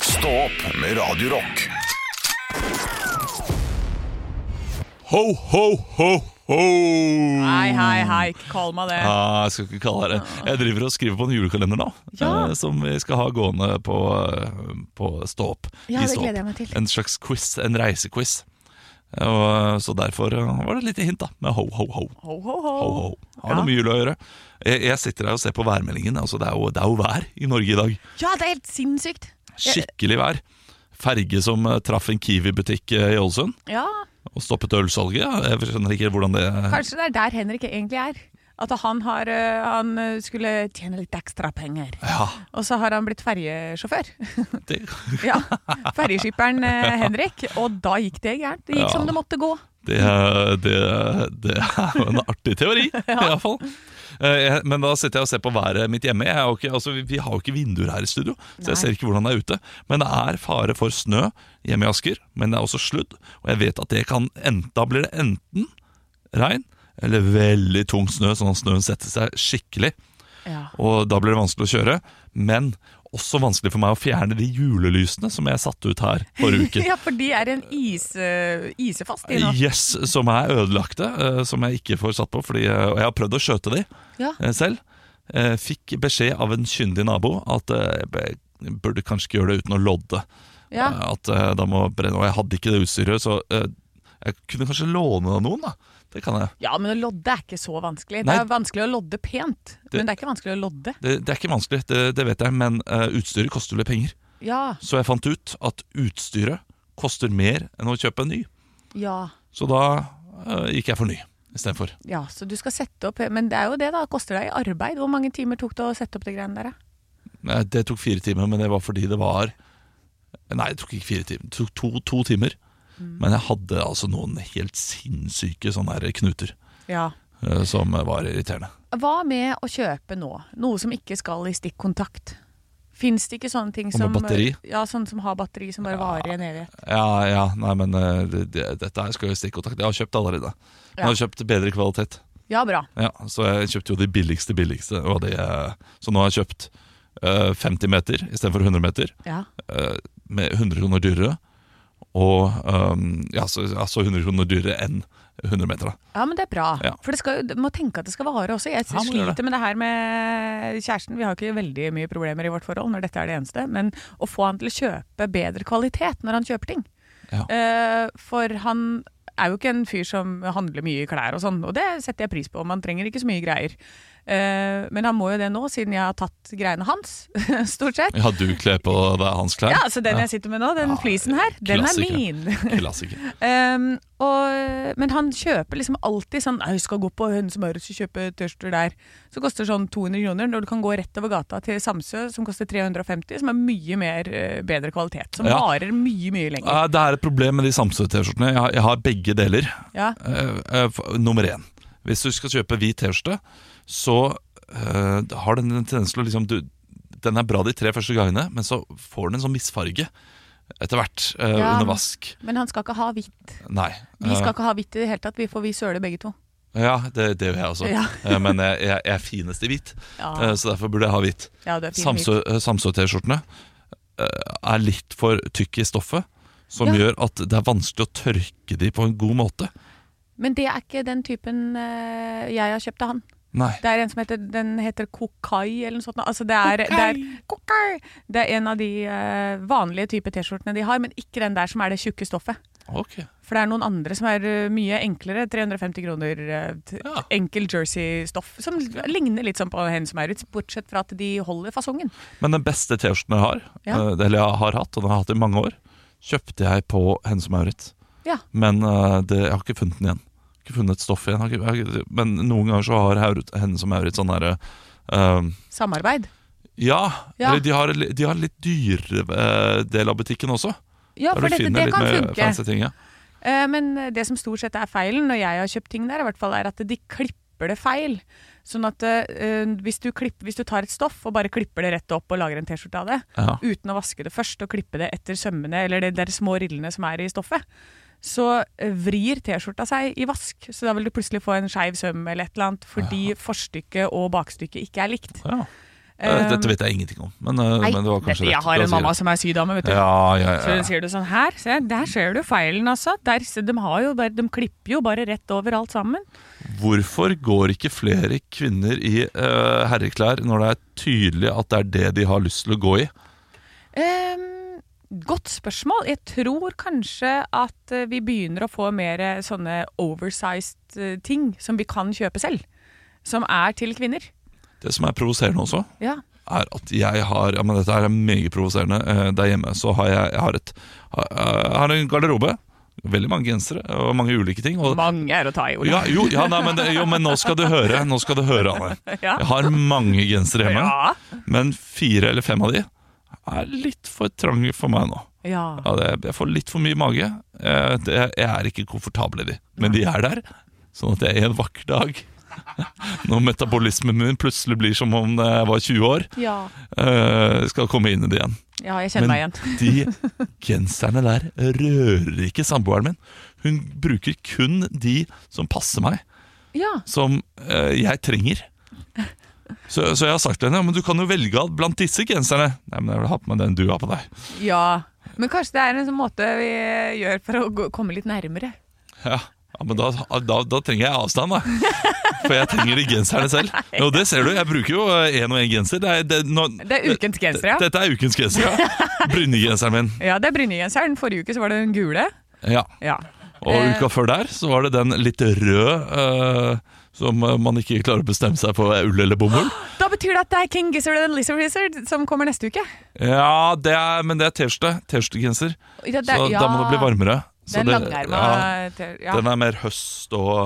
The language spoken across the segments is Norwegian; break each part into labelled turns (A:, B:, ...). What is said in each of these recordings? A: Stå opp med Radio Rock.
B: Ho, ho, ho, ho!
C: Hei, hei, hei. Kall meg det.
B: Ja, jeg skal ikke kalle det det. Jeg driver og skriver på en julekalender nå,
C: Ja.
B: eh, som vi skal ha gående på, eh, på Stå opp.
C: Ja,
B: I
C: det
B: Stå
C: gleder
B: opp.
C: jeg meg til.
B: En slags quiz, en reisequiz. Og, eh, så derfor eh, var det et lite hint da, med ho, ho, ho.
C: Ho, ho, ho.
B: ho, ho. Har
C: Ja.
B: noe med jula å gjøre. Jeg, jeg sitter her og ser på værmeldingen. Altså, det, er jo, det er jo vær i Norge i dag.
C: Ja, det er helt sinnssykt.
B: Skikkelig vær. Ferge som eh, traff en Kiwi-butikk eh, i Ålesund
C: Ja,
B: og stoppet ølsalget. Jeg skjønner ikke hvordan det
C: Kanskje det er der Henrik egentlig er. At han, har, eh, han eh, skulle tjene litt ekstra penger.
B: Ja,
C: Og så har han blitt ferjesjåfør.
B: det,
C: Ja, Ferjeskipperen eh, Henrik. Og da gikk det gærent. Det
B: Ja.
C: gikk som det måtte gå.
B: det, det, det er jo en artig teori, i hvert fall. Eh, jeg- Men da sitter jeg og ser på været mitt hjemme. Jeg er jo ikke, altså, vi- vi har jo ikke vinduer her i studio, så
C: Nei.
B: jeg ser ikke hvordan det er ute. Men det er fare for snø hjemme i Asker, men det er også sludd. Og jeg vet at det kan enten, da blir det enten regn eller veldig tung snø, sånn at snøen setter seg skikkelig.
C: Ja.
B: Og da blir det vanskelig å kjøre. Men også vanskelig for meg å fjerne de julelysene som jeg satte ut her forrige uke.
C: ja, for de er en is, eh, isefast, de nå.
B: Yes, som er ødelagte, eh, som jeg ikke får satt på. Fordi, eh, og jeg har prøvd å skjøte de
C: Ja.
B: eh, selv. Eh, Fikk beskjed av en kyndig nabo at eh, jeg b- burde kanskje ikke gjøre det uten å lodde.
C: Ja.
B: Eh, At eh, da må brenne, Og jeg hadde ikke det utstyret, så eh, jeg kunne kanskje låne det av noen. da Det kan jeg.
C: ja, men å lodde er ikke så vanskelig.
B: Nei.
C: Det er vanskelig å lodde pent, men det er ikke vanskelig å lodde.
B: Det, det er ikke vanskelig, det, det vet jeg, men eh, utstyret koster vel penger.
C: Ja,
B: Så jeg fant ut at utstyret koster mer enn å kjøpe en ny.
C: ja.
B: Så da eh, gikk jeg for ny istedenfor.
C: Ja, så du skal sette opp Men det er jo det, da. Koster deg i arbeid. Hvor mange timer tok det å sette opp de greiene der, da?
B: Nei, Det tok fire timer, men det var fordi det var Nei, det tok ikke fire timer. Det tok to, to timer. Men jeg hadde altså noen helt sinnssyke sånne her knuter
C: Ja.
B: eh, som var irriterende.
C: Hva med å kjøpe nå? Noe som ikke skal i stikkontakt. Fins det ikke sånne ting
B: Og
C: som
B: med batteri?
C: Ja, sånne som har batteri som bare varer i en evighet.
B: Ja, ja, nei, men eh, det, det- dette her skal jo i stikkontakt. Jeg har kjøpt allerede. Jeg har kjøpt bedre kvalitet.
C: Ja, bra.
B: Ja, Så jeg kjøpte jo de billigste billigste. Og det, eh, så nå har jeg kjøpt eh, 50 meter istedenfor 100 meter.
C: Ja.
B: eh, med 100 kroner dyrere. Og eh, ja, så, altså 100 kroner dyrere enn 100 meter, da.
C: ja, men det er bra.
B: Ja.
C: For det skal, jo- du må tenke at det skal vare også. Jeg
B: Ja, må gjøre
C: sliter med det her med kjæresten. Vi har ikke veldig mye problemer i vårt forhold når dette er det eneste. Men å få han til å kjøpe bedre kvalitet når han kjøper ting.
B: Ja.
C: Eh, for han er jo ikke en fyr som handler mye i klær og sånn, og det setter jeg pris på. Man trenger ikke så mye greier. Eh, men han må jo det nå, siden jeg har tatt greiene hans, stort sett.
B: Ja, du kler på deg hans klær?
C: Ja, så den jeg sitter med nå, den
B: Ja,
C: flisen her, den er
B: klassiker.
C: min.
B: Klassiker.
C: Um, og, men han kjøper liksom alltid sånn «Nei, 'Jeg skal gå på Hønesemøret og kjøpe tørster der'. Så koster det sånn 200 kroner når du kan gå rett over gata til Samsø, som koster 350, som er mye mer, eh, bedre kvalitet. Som
B: Ja.
C: varer mye, mye lenger.
B: Eh, Det er et problem med de Samsø-T-skjortene. Jeg, har- jeg har begge deler.
C: Ja.
B: Eh, eh, f- Nummer én. Hvis du skal kjøpe hvit T-skjorte, så eh, har den en tendens til å liksom du, Den er bra de tre første gangene, men så får den en sånn misfarge etter hvert eh,
C: Ja.
B: under vask.
C: Men han skal ikke ha hvitt.
B: Nei.
C: Vi skal ikke ha hvitt i det hele tatt, vi, for vi søler begge to.
B: Eh, Ja, det, det gjør jeg også.
C: Ja.
B: Eh, Men jeg, jeg, jeg er finest i hvit,
C: Ja,
B: eh, så derfor burde jeg ha hvit.
C: ja du er fin hvit.
B: Samsø- eh, Samsø-T-skjortene eh, er litt for tykke i stoffet, som
C: Ja.
B: gjør at det er vanskelig å tørke de på en god måte.
C: Men det er ikke den typen eh, jeg har kjøpt av han.
B: Nei.
C: Det er en som heter, den heter Kokai eller noe sånt. Altså det, er, det, er, Kokai! det er en av de eh, vanlige type T-skjortene de har, men ikke den der som er det tjukke stoffet.
B: Ok.
C: For det er noen andre som er eh, mye enklere. 350 kroner. eh, t-
B: Ja.
C: Enkel jersey-stoff. Som ligner litt sånn på hen som er ute, bortsett fra at de holder fasongen.
B: Men den beste T-skjorten jeg har,
C: Ja.
B: eh, eller jeg har hatt, og den har jeg hatt i mange år, kjøpte jeg på Hennes Maurits.
C: Ja.
B: Men eh, det, jeg har ikke funnet den igjen. Ikke funnet stoffet igjen. Jeg Har ikke, jeg, har ikke- men noen ganger så har Haur- Hennes Maurits sånn derre eh,
C: Samarbeid.
B: ja,
C: Ja.
B: Eller de har, de har litt dyrere eh, del av butikken også.
C: Ja,
B: der
C: for
B: du
C: dette,
B: finner
C: det
B: litt
C: kan
B: mer
C: funke.
B: fancy ting. Ja.
C: Eh, Men det som stort sett er feilen når jeg har kjøpt ting der, i hvert fall er at de klipper det feil. Sånn at eh, hvis, du klipp- hvis du tar et stoff og bare klipper det rett opp og lager en T-skjorte av det,
B: Ja.
C: uten å vaske det først og klippe det etter sømmene eller de der små rillene som er i stoffet, så eh, vrir T-skjorta seg i vask. Så da vil du plutselig få en skeiv søm eller et eller annet fordi forstykket og bakstykket ikke er likt.
B: Ja.
C: Eh,
B: Eh,
C: Eh,
B: Dette vet jeg ingenting om, men, eh,
C: Nei,
B: men det var kanskje
C: jeg
B: rett.
C: har
B: La
C: en
B: oss si
C: mamma
B: det.
C: som er sydame, vet du.
B: ja, ja,
C: Så
B: ja,
C: hun
B: ja.
C: sier det sånn her, se, der ser du feilen altså. Der, se, de, har jo bare, de klipper jo bare rett over alt sammen.
B: Hvorfor går ikke flere kvinner i eh, herreklær når det er tydelig at det er det de har lyst til å gå i?
C: Ehm, godt spørsmål. Jeg tror kanskje at eh, vi begynner å få mer eh, sånne oversized eh, ting som vi kan kjøpe selv. Som er til kvinner.
B: Det som er provoserende også,
C: Ja.
B: er at jeg har ja, men Dette her er meget provoserende. Eh, Der hjemme så har jeg, jeg har et, har, eh, har en garderobe. Veldig mange gensere og mange ulike ting. Og,
C: Mange er å ta i, Ola.
B: ja, jo, ja, nei, men, det- jo, men nå skal du høre, nå skal du høre Anne.
C: Ja.
B: Jeg har mange gensere hjemme,
C: Ja.
B: men fire eller fem av de er litt for trange for meg nå.
C: ja.
B: Ja, det, jeg får litt for mye mage. Eh, det, jeg er ikke komfortabel i de, men de er der. Sånn at jeg en vakker dag, når metabolismen min plutselig blir som om jeg var 20 år,
C: Ja.
B: eh, skal komme inn i det igjen.
C: ja, jeg kjenner meg
B: Men
C: igjen.
B: de genserne der rører ikke samboeren min. Hun bruker kun de som passer meg,
C: Ja.
B: som eh, jeg trenger. Så, så jeg har sagt til henne ja, men du kan jo velge av blant disse genserne. Nei, men jeg vil ha på meg den du har på deg.
C: ja. Men kanskje det er en sånn måte vi gjør for å gå, komme litt nærmere.
B: Ja, ja men da, da, da trenger jeg avstand, da. For jeg trenger de genserne selv. Jo, det ser du. Jeg bruker jo én og én genser. Det er, det, nå,
C: Det er ukens genser, ja.
B: Dette er ukens genser, ja. Brynegenseren min.
C: Ja, det er Brynegenseren. Forrige uke så var det den gule.
B: Ja.
C: Ja. Eh.
B: Og uka før der så var det den litt røde eh, som man ikke klarer å bestemme seg for er ull eller bomull.
C: Da betyr det at det er King Gizzard og Lizard Wizard som kommer neste uke.
B: Ja, det er, men det er T-skjorte. T-skjortegenser.
C: Ja, det-
B: Så da må det bli varmere.
C: Det er
B: Så
C: en langerma
B: ja,
C: til- ja.
B: Den er mer høst og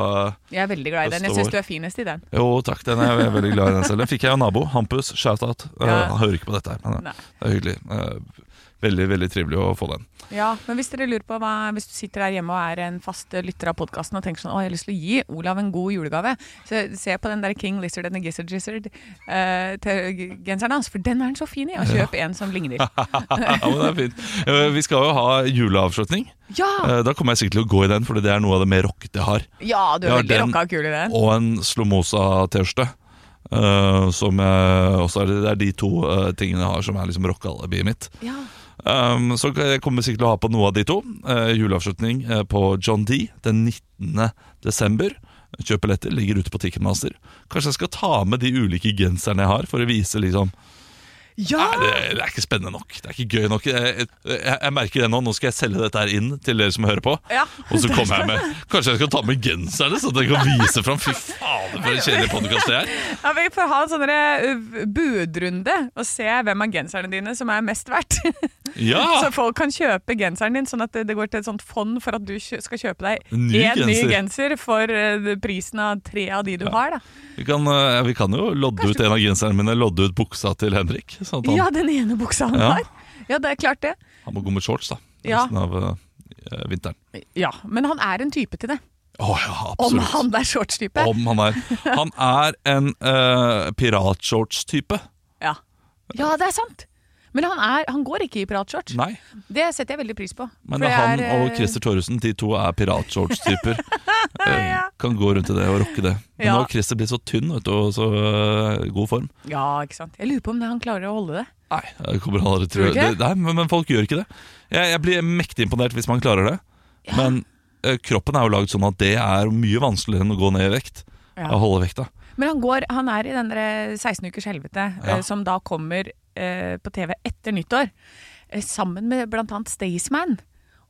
C: Jeg er veldig glad i den. Jeg
B: Høst og
C: syns du er finest i den.
B: Jo, takk. Den er jeg veldig glad i den selv. Den fikk jeg av nabo. Hampus, shout-out. Eh,
C: Ja.
B: Han hører ikke på dette her, men
C: Nei.
B: eh, det er hyggelig. Eh, Veldig veldig trivelig å få den.
C: Ja, men hvis dere lurer på hva, hvis du sitter der hjemme og er en fast lytter av podkasten og tenker sånn Å, jeg har lyst til å gi Olav en god julegave, så se på den der King Lizard and the Gizzard Gizzard eh, til g- genseren hans, for den er han så fin i. Og kjøp en som ligner.
B: ja, men det er fint. Eh, Vi skal jo ha juleavslutning.
C: Ja!
B: Eh, Da kommer jeg sikkert til å gå i den, for det er noe av det mer rockete jeg har.
C: Ja, du er
B: Ja,
C: veldig
B: den-
C: rocka og kul i den.
B: Og en Slomosa-T-skjorte. eh, som jeg også er, Det er de to eh, tingene jeg har som er liksom rockealibiet mitt.
C: Ja.
B: Um, så jeg kommer sikkert til å ha på noe av de to. Eh, juleavslutning eh, på John D. den 19. desember. Kjøp billetter, ligger ute på Ticketmaster. Kanskje jeg skal ta med de ulike genserne jeg har, for å vise liksom
C: ja!
B: Nei, det, det er ikke spennende nok. Det er ikke gøy nok. Jeg, jeg, jeg merker det nå. Nå skal jeg selge dette her inn til dere som hører på.
C: Ja.
B: Og så kommer jeg med Kanskje jeg skal ta med genserne, så dere kan vise fram. Fy fader, for en kjedelig podkast det er.
C: Ja, Vi får ha en sånn der, ø, budrunde og se hvem av genserne dine som er mest verdt.
B: Ja!
C: Så folk kan kjøpe genseren din, sånn at det- det går til et sånt fond for at du kjø skal kjøpe deg
B: Ny
C: én ny
B: genser.
C: genser for ø, prisen av tre av de du har. da.
B: Vi kan, eh, vi kan jo lodde ut en av genserne mine. Lodde ut buksa til Henrik. Sånn at han
C: Ja, den ene buksa han
B: Ja.
C: har. Ja, det er klart det.
B: Han må gå med shorts da
C: Ja.
B: resten av eh, vinteren.
C: Ja, Men han er en type til det.
B: Å ja,
C: Om
B: absolutt.
C: han er shortstype.
B: Om han er Han er en eh, piratshorts-type.
C: Ja. ja, det er sant. Men han, er, han går ikke i piratshorts.
B: Nei,
C: Det setter jeg veldig pris på.
B: men
C: For det
B: han
C: er, eh, ø,
B: og Christer Thoresen, de to er piratshorts-typer. Eh, Kan gå rundt i det og rocke det. Men
C: Ja.
B: nå har Christer blitt så tynn vet du, og så eh, god form.
C: Ja, ikke sant. Jeg lurer på om han klarer å holde det.
B: Nei, det kommer han aldri til
C: Tror
B: å
C: du ikke
B: det- Nei, men, men folk gjør ikke det. Jeg, jeg blir mektig imponert hvis man klarer det. Men eh, kroppen er jo lagd sånn at det er mye vanskeligere enn å gå ned i vekt.
C: Ja.
B: Å holde vekta.
C: Men han, går, han er i den der 16 ukers helvete,
B: Ja.
C: eh, som da kommer eh, på TV etter nyttår. Eh, sammen med blant annet Staysman.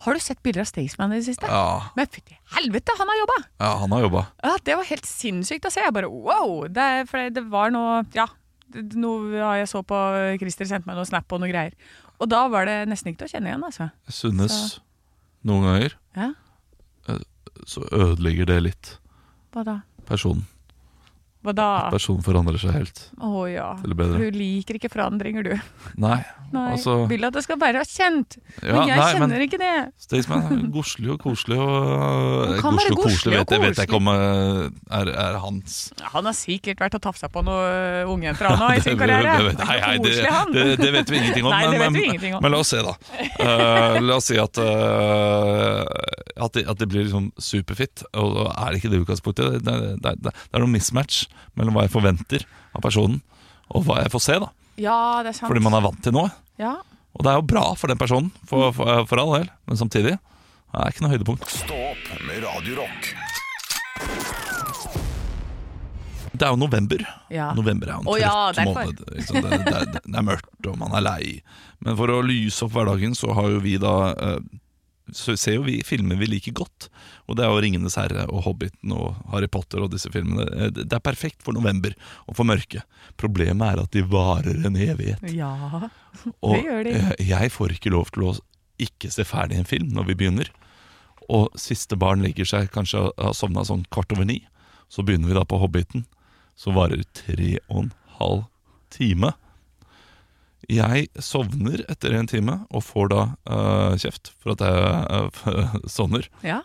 C: Har du sett bilder av Staysman i det siste?
B: Ja,
C: Men fytti helvete, han har jobba!
B: ja han har jobba.
C: Ja, det var helt sinnssykt å se. Jeg bare wow! Det, er- for det var noe Ja, det- noe ja, jeg så på eh, Christer sendte meg noe snap og noe greier. Og da var det nesten ikke til å kjenne igjen, altså.
B: Jeg Synes noen ganger eh,
C: Ja,
B: så ødelegger det litt
C: hva da?
B: personen.
C: Hva da?
B: Personen forandrer seg helt
C: Å ja.
B: til det bedre.
C: Du liker ikke forandringer, du.
B: Nei,
C: Nei.
B: Altså-
C: Vil at det skal være kjent.
B: ja,
C: men jeg
B: nei
C: kjenner
B: men
C: ikke det.
B: Staysman er godslig og koselig og
C: Han kan
B: Godslig
C: være
B: og koselig
C: godslig og
B: vet jeg, vet jeg ikke om eh, er, er hans
C: Ja, Han har sikkert vært og tafsa på eh, noen ungjenter han òg i
B: Det-
C: sin karriere.
B: det vet- Nei, nei,
C: Koselig, han.
B: det, det, det vet vi ingenting om.
C: Nei, det
B: men,
C: vet vi
B: men-
C: ingenting om.
B: men la oss se, da. Eh, la oss si at, eh, at, det, at det blir liksom superfit. Og, og er det ikke det utgangspunktet? Det, det, det, det er noen mismatch mellom hva jeg forventer av personen, og hva jeg får se. da
C: Ja, det er sant.
B: fordi man er vant til noe.
C: Ja.
B: Og det er jo bra for den personen, for, for, for all del, men samtidig det er ikke noe høydepunkt.
A: Stå opp med Radio Rock.
B: Det er jo november.
C: Ja.
B: November er jo en
C: Å
B: trøtt
C: ja, derfor.
B: måned. ikke sant? Det, det, det, det er mørkt, og man er lei. Men for å lyse opp hverdagen, så har jo vi da eh, så ser jo vi filmer vi liker godt. Og det er jo 'Ringenes herre' og 'Hobbiten' og 'Harry Potter' og disse filmene. Eh, Det det er perfekt for november og for mørket. Problemet er at de varer en evighet.
C: ja.
B: Og
C: Det gjør de.
B: eh, jeg får ikke lov til å ikke se ferdig en film når vi begynner. Og siste barn legger seg kanskje og har sovna sånn kvart over ni. Så begynner vi da på Hobbiten, som varer tre og en halv time. Jeg sovner etter en time og får da eh, kjeft for at jeg uh, sovner.
C: Ja.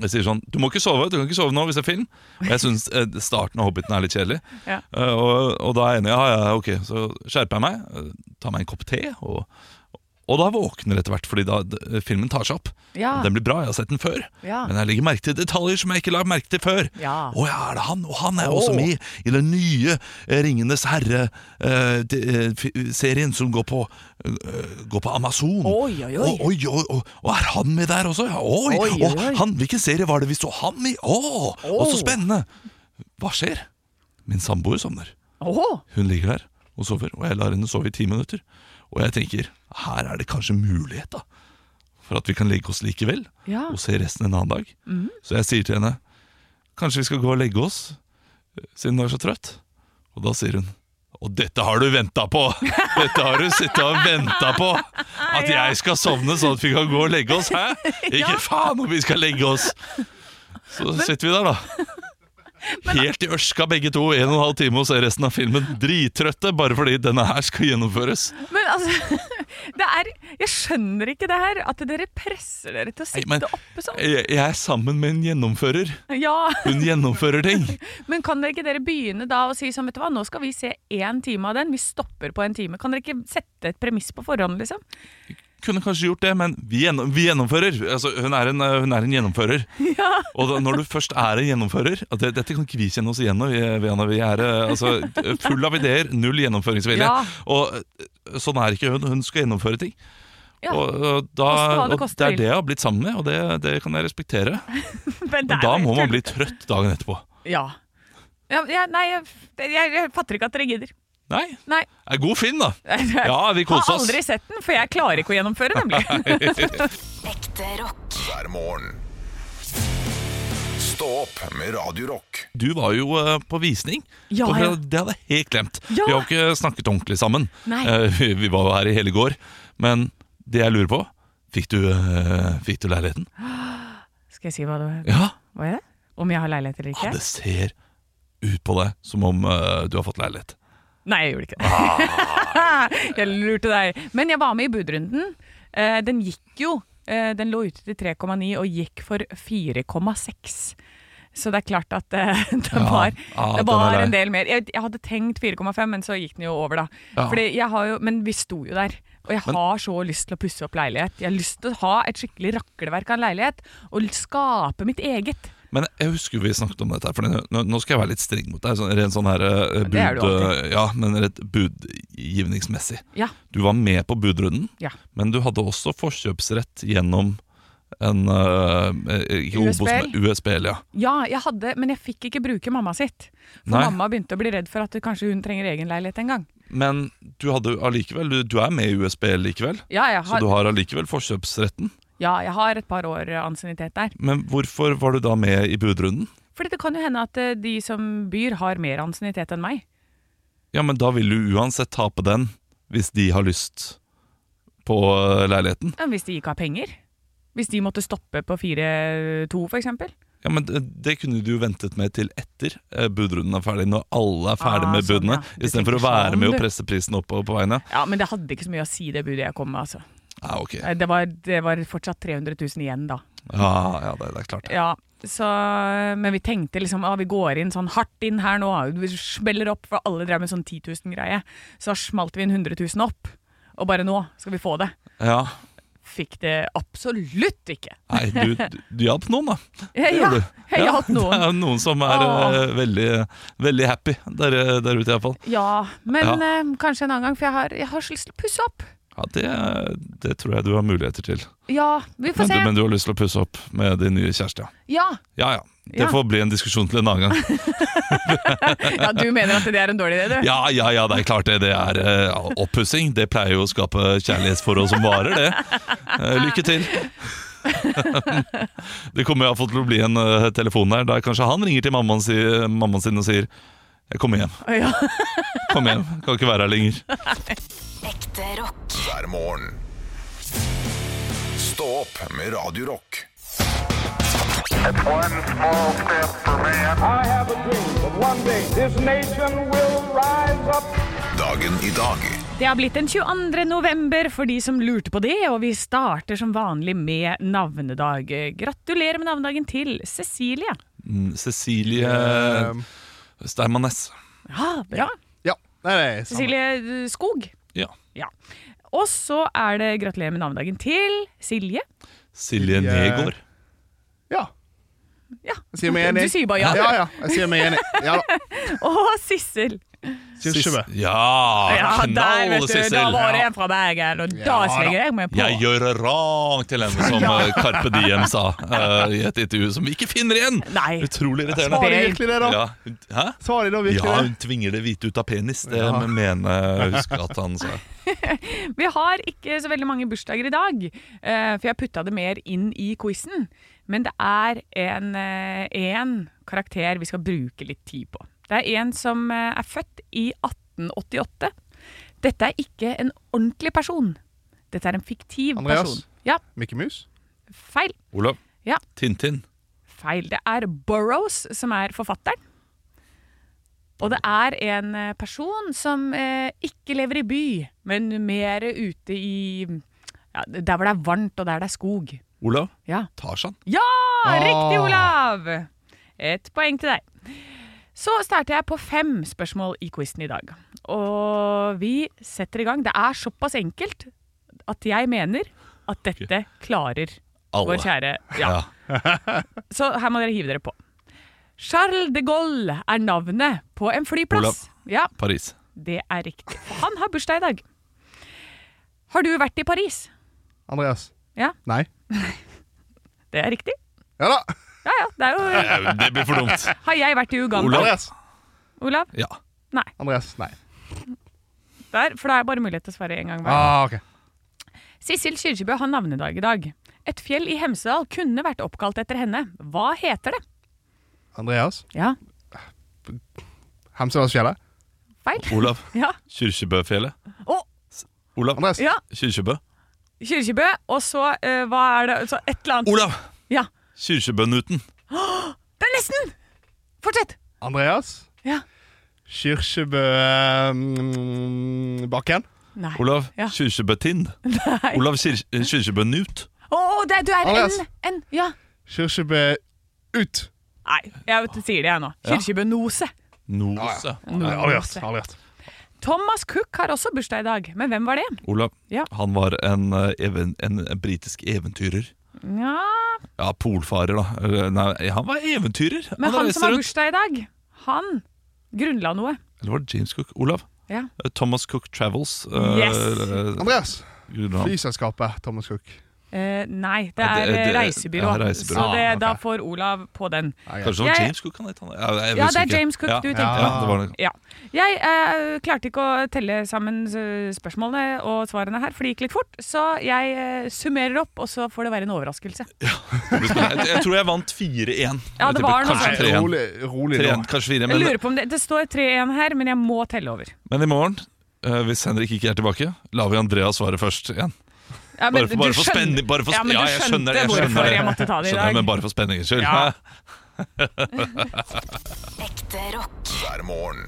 B: Jeg sier sånn Du må ikke sove, du kan ikke sove nå hvis det er film. Og jeg syns starten av Hobbiten er litt kjedelig.
C: Ja.
B: Eh, og, og da er jeg enig. Ja, ja, ok. Så skjerper jeg meg, eh, tar meg en kopp te, og, og da våkner jeg etter hvert, fordi da d- filmen tar seg opp.
C: Ja.
B: Den blir bra, jeg har sett den før.
C: Ja.
B: Men jeg legger merke til detaljer som jeg ikke la merke til før.
C: Ja.
B: Å ja, er det han? Og han er jo
C: Å.
B: også med i den nye eh, Ringenes eh, herre-serien som går på, eh, går på Amazon.
C: Oi, oi, oi.
B: Å, oi, oi, oi. Og er han med der også? Ja, oi,
C: Oi,
B: oi,
C: oi, oi.
B: Han, hvilken serie var det vi så han i? Å, og så spennende! Hva skjer? Min samboer sovner.
C: Åh,
B: Hun ligger der og sover, og jeg lar henne sove i ti minutter. Og jeg tenker, her er det kanskje mulighet da, for at vi kan legge oss likevel,
C: Ja.
B: og se resten en annen dag. Så jeg sier til henne, kanskje vi skal gå og legge oss, eh, siden du er så trøtt. Og da sier hun, og dette har du ventet på! Dette har du sittet og ventet på! At jeg skal sovne sånn at vi kan gå og legge oss, hæ? Ikke faen om vi skal legge oss! Så sitter vi der da. Helt i ørska begge to, en og en halv time og ser resten av filmen. Drittrøtte, bare fordi denne her skal gjennomføres.
C: Men altså det er, Jeg skjønner ikke det her. At dere presser dere til å
B: Nei,
C: sitte
B: men-
C: oppe sånn.
B: Jeg, jeg er sammen med en gjennomfører.
C: Ja,
B: Hun gjennomfører ting.
C: Men kan dere ikke dere begynne da å si sånn, vet du hva, nå skal vi se én time av den. Vi stopper på en time. Kan dere ikke sette et premiss på forhånd, liksom?
B: Kunne kanskje gjort det, men vi, gjennom, vi gjennomfører. Altså, hun, er en, øh, hun er en gjennomfører. Og da, når du først er en gjennomfører at det, Dette kan ikke vi kjenne oss igjen i. øh, Vianna. Vi er øh, altså, d- full av ideer, null gjennomføringsvilje.
C: Ja.
B: Og øh, sånn er ikke hun. Hun skal gjennomføre ting.
C: Ja.
B: Og, og, da,
C: Koste hva det
B: og
C: koste
B: det er
C: vil.
B: det jeg har blitt sammen med, og det, det kan jeg respektere.
C: Men det er
B: Men da
C: jo
B: må
C: helt
B: man bli trøtt dagen etterpå.
C: tull. Ja. ja, ja nei, jeg, jeg, jeg fatter ikke at dere gidder.
B: Nei,
C: Nei.
B: er god film da Ja, vi
C: Har
B: koser oss
C: aldri sett den, for jeg klarer ikke å gjennomføre, nemlig.
D: Ekte rock.
A: hver morgen. Stå opp med Radio Rock.
B: Du var jo eh, på visning
C: Ja,
B: Og
C: ja.
B: Det hadde jeg helt glemt
C: Ja.
B: Vi har jo ikke snakket ordentlig sammen
C: Nei.
B: Eh, vi, vi var jo her i hele går Men det jeg lurer på Fikk du, eh, fikk du leiligheten?
C: Skal jeg si hva det var?
B: Ja,
C: Hva er det? Om jeg har leilighet eller
B: ja
C: ikke?
B: det ser ut på deg Som om eh, du har fått leilighet
C: Nei, jeg gjorde ikke
B: Ah.
C: det. jeg lurte deg. Men jeg var med i budrunden. Eh, Den gikk jo. eh, Den lå ute til 3,9 og gikk for 4,6. Så det er klart at eh, det
B: Ja,
C: var,
B: ja,
C: det
B: den
C: var
B: er lei.
C: en del mer. Jeg, jeg hadde tenkt 4,5, men så gikk den jo over, da.
B: Ja.
C: Fordi jeg har jo, men vi sto jo der. Og jeg har så lyst til å pusse opp leilighet. Jeg har lyst til å ha et skikkelig rakleverk av en leilighet. Og skape mitt eget.
B: Men jeg husker vi snakket om dette her, For nå, nå skal jeg være litt streng mot deg sånn, Rent sånn her eh,
C: Det er du
B: bud, eh, Ja, men rett budgivningsmessig
C: Ja.
B: Du var med på budrunden
C: ja.
B: Men du hadde også forkjøpsrett gjennom en eh, ikke Obos,
C: USBL?
B: men USBL, ja.
C: Ja, jeg hadde, men jeg fikk ikke bruke mamma sitt. For
B: Nei.
C: mamma begynte å bli redd for at kanskje hun trenger egen leilighet en gang.
B: Men du hadde jo allikevel Du, du er med i USBL likevel,
C: Ja, jeg
B: så
C: har,
B: du har allikevel forkjøpsretten.
C: ja, jeg har et par år eh, ansiennitet der.
B: Men hvorfor var du da med i budrunden?
C: Fordi det kan jo hende at eh, de som byr har mer ansiennitet enn meg.
B: Ja, men da vil du uansett tape den hvis de har lyst på eh, leiligheten.
C: Ja, hvis de ikke har penger. Hvis de måtte stoppe på 4-2 for eksempel.
B: Ja, men Det, det kunne du jo ventet med til etter eh, budrunden er ferdig, når alle er ferdig
C: Ah,
B: med
C: sånn,
B: budene.
C: ja. Du
B: Istedenfor å
C: tenker sånn,
B: være med
C: du.
B: og presse prisen oppover på veiene.
C: Ja, men det hadde ikke så mye å si det budet jeg kom med, altså.
B: Ja, ok. Ja,
C: Eh, Det var, det var fortsatt 300 000 igjen da.
B: ja det, det er klart.
C: Ja, så, men vi tenkte liksom ah, vi går inn sånn hardt inn her nå. Vi smeller opp, for alle drev med sånn 10 000-greie. Så da smalt vi inn 100 000 opp. Og bare nå skal vi få det.
B: Ja,
C: fikk det absolutt ikke.
B: Nei, du, du, du hjalp noen, da.
C: Jeg,
B: gjør du.
C: jeg hjalp
B: Det
C: noen.
B: er noen som er
C: Åh.
B: eh, veldig, veldig happy der, eh, der ute, iallfall.
C: Ja, men
B: Ja.
C: eh, kanskje en annen gang, for jeg har, jeg har så lyst til å pusse opp.
B: Ja, det, det tror jeg du har muligheter til.
C: Ja, vi får
B: Men du,
C: se.
B: men du har lyst til å pusse opp med din nye kjæreste? ja. Ja
C: Ja.
B: ja. Det
C: Ja.
B: får bli en diskusjon til en annen gang.
C: ja, du mener at det er en dårlig idé, du?
B: Ja ja, ja, det er klart det. Det er uh, oppussing. Det pleier jo å skape kjærlighetsforhold som varer, det. Eh, lykke til. det kommer iallfall til å bli en eh, telefon her der kanskje han ringer til mammaen, si, mammaen sin og sier Jeg kommer hjem.
C: Ja.
B: Kom hjem. Kan ikke være her lenger.
D: Ekte rock.
A: hver morgen. Stå opp med Radio Rock.
E: One small step for man.
F: I have a dream that one day this nation will rise up.
A: Dagen i dag
C: Det har blitt den 22. november for de som lurte på det, og vi starter som vanlig med navnedag. Gratulerer med navnedagen til Cecilie.
B: Mm, Cecilie
G: Ehm,
B: Stermanes.
C: Ja, bra.
G: ja. Nei, nei, samme.
C: Cecilie Skog.
B: Ja.
C: Ja. Og så er det gratulerer med navnedagen til Silje.
B: Silje
G: Silje-
B: Negård.
G: Ja.
C: Ja.
G: Jeg sier meg enig.
C: Du sier bare ja.
G: Ja, ja. Jeg sier meg enig. Ja da.
C: Og Sissel.
G: Sier Kyrkjebø.
B: Ja,
C: Ja, der,
B: Ah, knall,
C: vet du. Da
B: Sissel!
C: var det en fra Bergen, og da
G: Ja,
C: slenger jeg meg på.
B: Jeg gjør rang til henne, som eh, Carpe Diem sa eh, i et intervju som vi ikke finner igjen!
C: Nei.
B: Utrolig
G: Svarer
B: irriterende.
G: de virkelig det, da?
B: Ja. Hæ?
G: Svarer de da
B: Ja,
G: virkelig
B: hun
G: det?
B: tvinger det hvite ut av penis. Det
G: Ja.
B: mener jeg husker at han sa.
C: Vi har ikke så veldig mange bursdager i dag, eh, for jeg putta det mer inn i quizen. Men det er en, eh, en karakter vi skal bruke litt tid på. Det er en som eh, er født i 1888. Dette er ikke en ordentlig person. Dette er en fiktiv
G: Andreas?
C: person. Ja,
G: Mikke Mus?
C: feil.
B: Olav.
C: Ja.
B: Tintin.
C: Feil. Det er Burroughs som er forfatteren. Og det er en eh, person som eh, ikke lever i by, men mer ute i ja, Der hvor det er varmt, og der det er skog.
B: Olav.
C: Ja,
B: Tarzan.
C: ja riktig,
G: Ah.
C: Olav! Et poeng til deg. Så starter jeg på fem spørsmål i quizen i dag. Og vi setter i gang. Det er såpass enkelt at jeg mener at dette klarer
B: Alle.
C: vår kjære ja,
B: Ja.
C: så her må dere hive dere på. Charles de Gaulle er navnet på en flyplass. Ja,
B: Paris.
C: det er riktig. Og han har bursdag i dag. Har du vært i Paris?
G: Andreas?
C: Ja.
G: Nei.
C: Det er riktig.
G: Ja da.
C: Ja ja, det er jo
B: Eh, Det blir for dumt.
C: Har jeg vært i Uganda?
B: Olav.
G: Andreas?
C: Olav?
B: Ja.
C: Nei.
G: Andreas? Nei.
C: Der, for da er bare mulighet til å svare en gang hver.
G: Ah, ok.
C: Sissel Kyrkjebø har navnedag i dag. Et fjell i Hemsedal kunne vært oppkalt etter henne. Hva heter det?
G: Andreas?
C: Ja,
G: Hemsedalsfjellet?
C: feil.
B: Olav.
C: Ja.
B: Kyrkjebøfjellet.
C: Å.
B: Olav.
G: Andreas?
C: ja.
B: Kyrkjebø.
C: Kyrkjebø, og så eh, hva er det så Et eller annet.
B: Olav!
C: Ja.
B: Kyrkjebø-Newton.
C: Det er nesten! Fortsett!
G: Andreas?
C: Ja.
G: Kyrkjebø-bakken?
C: Nei.
B: Olav
C: Ja.
B: Kyrkjebø-Tind.
C: Nei.
B: Olav Kyr- Kyrkjebø-Newt.
C: Å, det, du er
G: Andreas.
C: en, en Ja.
G: Kyrkjebø-ut?
C: Nei, jeg vet, sier det jeg nå.
B: Ja.
C: Kirkebønose.
B: Nose.
G: Nei, Aldri hørt. Aldri hørt.
C: Thomas Cook har også bursdag i dag, men hvem var det?
B: Olav,
C: Ja.
B: han var en, eh, even, en britisk eventyrer.
C: Ja,
B: Ja, polfarer, da. Eller, Nei, han var eventyrer.
C: Men han
B: reiste
C: som har
B: rundt.
C: bursdag i dag, han grunnla noe.
B: Eller var det James Cook? Olav?
C: Ja.
B: Eh, Thomas Cook Travels. eh,
C: Yes.
B: eller, eh,
G: Andreas?
B: gjorde han.
G: Flyselskapet Thomas Cook.
C: Eh, nei, det
B: Ja,
C: er
B: det- det-
C: reisebyrå.
B: ja, reisebyrå.
C: Så det,
G: Ah, ok.
C: da får Olav på den.
B: Kanskje det var
C: Jeg-
B: James Cook han het? han? Ja, jeg
C: Ja,
B: husker
C: det er
B: ikke.
C: James Cook
B: ja.
C: du tenkte
B: Ja, det
C: på.
B: var det.
C: Ja. Jeg eh, klarte ikke å telle sammen eh, spørsmålene og svarene her, for det gikk litt fort. Så jeg eh, summerer opp, og så får det være en overraskelse.
B: Jeg, jeg tror jeg vant 4-1.
C: Ja, det var noe
B: Kanskje 3-1.
C: sånt.
G: Rolig, rolig
B: 3-1,
G: nå.
B: kanskje 4
C: Jeg
B: men,
C: lurer på om Det, det står 3-1 her, men jeg må telle over.
B: men i morgen, eh, hvis Henrik ikke er tilbake, lar vi Andreas svare først igjen.
C: Ja, men
B: Bare for,
C: du
B: bare for
C: skjønner-
B: spenning. Bare for,
C: ja, men
B: ja,
C: du
B: jeg
C: skjønte
B: skjønner det. Jeg
C: hvorfor
B: skjønner det.
C: jeg måtte ta det i
B: Skjønner det,
C: dag.
B: men bare for spenningens skyld.
C: Ja.
D: Ekte rock.
A: hver morgen.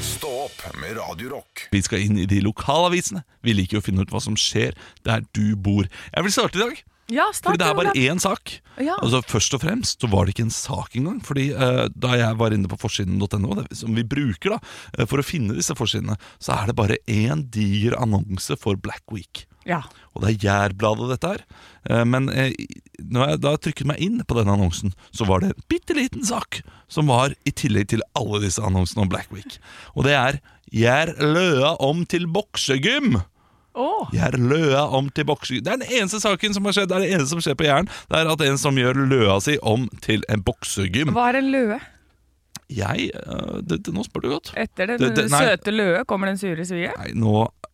A: Stå opp med Radio Rock.
B: Vi skal inn i de lokalavisene. Vi liker jo å finne ut hva som skjer der du bor. Jeg vil starte i dag,
C: Ja,
B: fordi
C: start
B: det er bare
C: Olav.
B: én sak.
C: Ja.
B: Altså Først og fremst så var det ikke en sak engang. Fordi eh, Da jeg var inne på forsiden.no, det som vi bruker da eh, for å finne disse forsidene, så er det bare én diger annonse for Black Week.
C: Ja.
B: Og det er Jærbladet dette her. Eh, Men eh, når jeg da trykket meg inn på denne annonsen, så var det en bitte liten sak som var i tillegg til alle disse annonsene om Black Week. Og det er Gjær løa om til boksegym!
C: Åh,
B: Gjær løa om til boksegym. Det er den eneste saken som har skjedd, det er det eneste som skjer på Jæren. Det er at en som gjør løa si om til en boksegym.
C: Hva er en løe?
B: Jeg eh, det, det, Nå spør du godt.
C: Etter den
B: Det- det- nei.
C: søte løe kommer den sure svie?
B: Nei, nå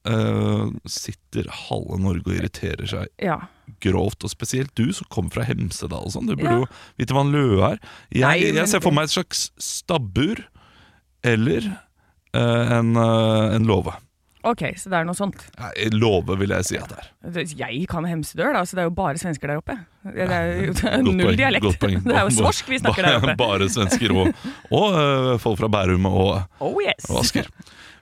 B: eh, sitter halve Norge og irriterer seg
C: Ja.
B: grovt, og spesielt du som kommer fra Hemsedal og sånn. Du burde
C: Ja.
B: jo vite hva en løe er. Jeg,
C: Nei, men
B: jeg ser for
C: det-
B: meg et slags stabbur eller eh, en, eh, en låve.
C: Ok, så det er noe sånt.
B: Nei, en Låve vil jeg si at det er.
C: Det- Jeg kan Hemsedøl, da, så det er jo bare svensker der oppe. Det er jo det er
B: Godt
C: null
B: poeng,
C: dialekt.
B: godt poeng.
C: Det er jo svorsk vi snakker der
B: Bare,
C: oppe.
B: bare svensker og, og eh, folk fra Bærum og,
C: Oh yes.
B: og Asker.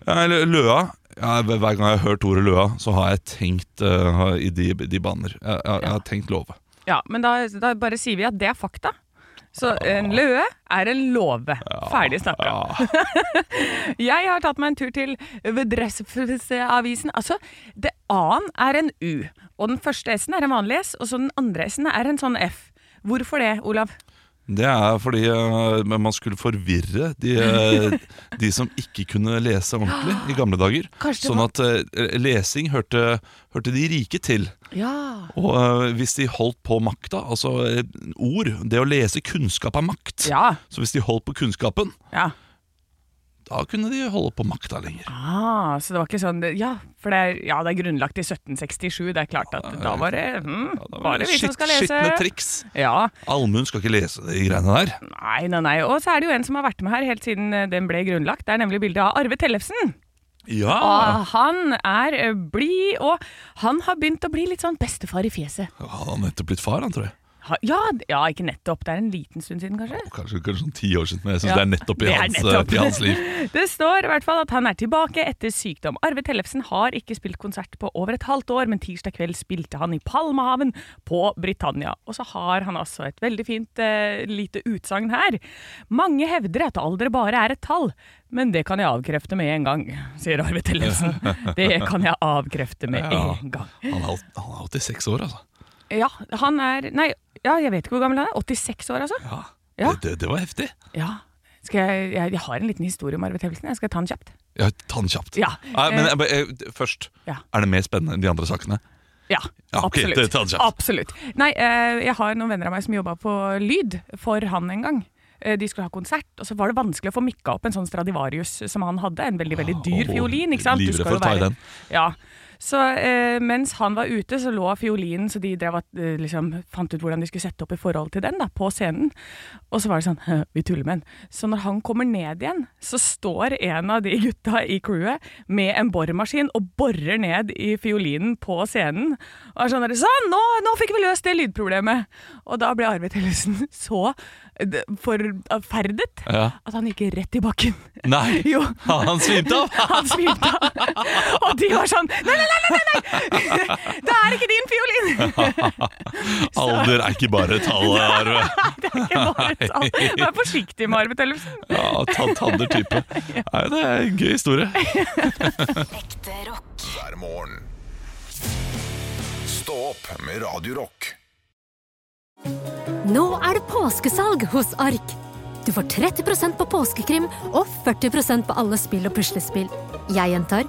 B: Ja, eller løa ja, Hver hver gang jeg har hørt ordet løa, så har jeg tenkt eh, i de, de baner. Jeg, jeg, jeg har tenkt låve.
C: Ja, men da, da bare sier vi at det er fakta. Så en løe er en låve. Ferdig snakka. Jeg har tatt meg en tur til Vedressavisen. Altså, det A-en er en U, og den første S-en er en vanlig S, og så den andre S-en er en sånn F. Hvorfor det, Olav?
B: Det er fordi eh, men man skulle forvirre de, eh, de som ikke kunne lese ordentlig i gamle dager.
C: Kanskje det
B: Sånn at eh, lesing hørte, hørte de rike til.
C: Ja.
B: Og eh, hvis de holdt på makta, altså eh, ord Det å lese kunnskap er makt.
C: Ja.
B: Så hvis de holdt på kunnskapen,
C: ja.
B: da kunne de holde på makta lenger.
C: Ah, så det var ikke sånn det- Ja, for det er, ja, det er grunnlagt i 1767. Det er klart at da var det mm,
B: Ja, da var
C: bare
B: det
C: vi som
B: skitt-
C: skal lese.
B: Skitne triks.
C: Ja.
B: Allmuen skal ikke lese de greiene der.
C: Nei, nei, nei. Og så er det jo en som har vært med her helt siden eh, den ble grunnlagt. Det er nemlig bildet av Arve Tellefsen.
B: Ja!
C: Og han er eh, blid, og han har begynt å bli litt sånn bestefar i fjeset.
B: Han har nettopp blitt far, han, tror jeg.
C: Ha, ja, d- ja, ikke nettopp. Det er en liten stund siden, kanskje.
B: Kanskje, kanskje sånn ti år siden. men Jeg syns
C: Ja,
B: det er nettopp i,
C: det er
B: hans, eh,
C: nettopp.
B: i hans liv.
C: Det står i hvert fall at han er tilbake etter sykdom. Arve Tellefsen har ikke spilt konsert på over et halvt år, men tirsdag kveld spilte han i Palmehaven på Britannia. Og så har han altså et veldig fint eh, lite utsagn her. Mange hevder at alder bare er et tall, men det kan jeg avkrefte med en gang, sier Arve Tellefsen. Det kan jeg avkrefte med
B: Ja.
C: en gang.
B: Han er, alt- han er 86 år, altså.
C: Ja, han er Nei, ja, jeg vet ikke hvor gammel han er. 86 år, altså?
B: Ja.
C: Ja.
B: Det, det, det var heftig.
C: Ja. Skal jeg, jeg, jeg har en liten historie om Arve Tellefsen. Jeg skal ta den kjapt.
B: Ja, Ta den kjapt.
C: Ja. Eh.
B: Nei, men jeg, bare- jeg, først,
C: Ja.
B: er det mer spennende enn de andre sakene?
C: Ja,
B: Ja, ok,
C: absolutt.
B: det tar det kjapt.
C: absolutt. Nei, eh, jeg har noen venner av meg som jobba på lyd for han en gang. Eh, De skulle ha konsert, og så var det vanskelig å få mikka opp en sånn Stradivarius som han hadde. En veldig veldig dyr
B: Ah, Åh,
C: fiolin. ikke sant?
B: livredd for å ta i den.
C: Ja. Så eh, mens han var ute, så lå fiolinen, så de drev, at, eh, liksom, fant ut hvordan de skulle sette opp i forhold til den, da, på scenen. Og så var det sånn «Hø, Vi tuller med den. Så når han kommer ned igjen, så står en av de gutta i crewet med en boremaskin og borer ned i fiolinen på scenen. Og er sånn der, Sånn! Nå, nå fikk vi løst det lydproblemet! Og da ble Arve Tellefsen så eh, forferdet
B: Ja.
C: at han gikk rett i bakken.
B: Nei!
C: Jo.
B: Han svimte av!
C: Han svimte av. Og de var sånn Nei, nei, nei! nei, nei, nei. Det er ikke din fiolin!
B: Alder er ikke bare tallet, Arve.
C: Det er ikke bare tall. Vær forsiktig med Arve Tellefsen.
B: Ja, tan- Tanner-type. Nei, Det er en gøy historie.
D: Ekte rock.
A: hver morgen. Stå opp med Radio Rock.
H: Nå er det påskesalg hos Ark. Du får 30 på påskekrim og 40 på alle spill og puslespill. Jeg gjentar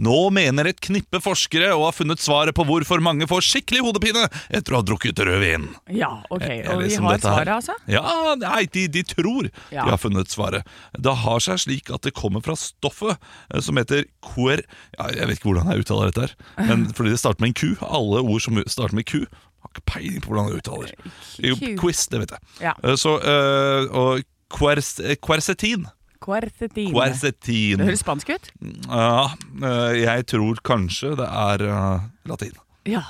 B: Nå mener et knippe forskere å ha funnet svaret på hvorfor mange får skikkelig hodepine etter å ha drukket rød vin.
C: Ja, ok.
B: Jeg
C: Og vi
B: leser om
C: har
B: dette her.
C: svaret, altså?
B: Ja, nei, de, de tror
C: Ja.
B: de har funnet svaret. Det har seg slik at det kommer fra stoffet eh, som heter quer... Ja, jeg vet ikke hvordan jeg uttaler dette, her, men fordi det starter med en Q. Alle ord som starter med Q, har ikke peiling på hvordan jeg uttaler. Jo,
C: Q.
B: quiz, det vet jeg.
C: Ja.
B: Eh, Så, eh, og quers, eh, quercetin.
C: Quercetin.
B: Quercetin.
C: Det høres spansk ut?
B: Ja, eh, jeg tror kanskje det er eh, latin.
C: Ja.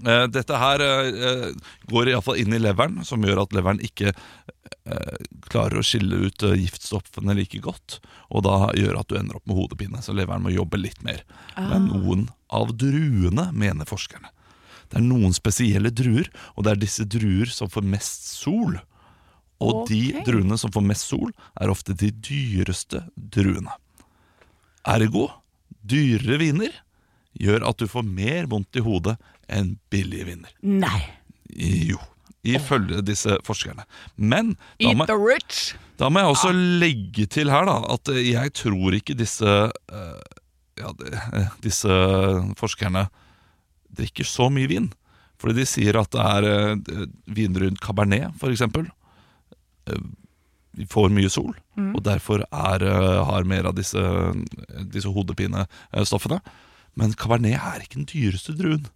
B: Eh, Dette her eh, eh, går iallfall inn i leveren, som gjør at leveren ikke eh, klarer å skille ut eh, giftstoffene like godt. Og da gjør at du ender opp med hodepine, så leveren må jobbe litt mer. Men noen av druene, mener forskerne. Det er noen spesielle druer, og det er disse druer som får mest sol. Og de
C: Ok.
B: druene som får mest sol, er ofte de dyreste druene. Ergo, dyrere viner gjør at du får mer vondt i hodet enn billige viner.
C: Nei.
B: Jo, ifølge disse forskerne. Men da
C: Eat
B: må,
C: the rich.
B: da må jeg også legge til her da, at eh, jeg tror ikke disse, eh, ja, de- eh, disse forskerne drikker så mye vin. Fordi de sier at det er eh, vin rundt Cabernet, for eksempel. eh, vi får mye sol,
C: Mm.
B: og derfor er, eh, har mer av disse, eh, disse hodepinestoffene. Men Cabernet er ikke den dyreste druen,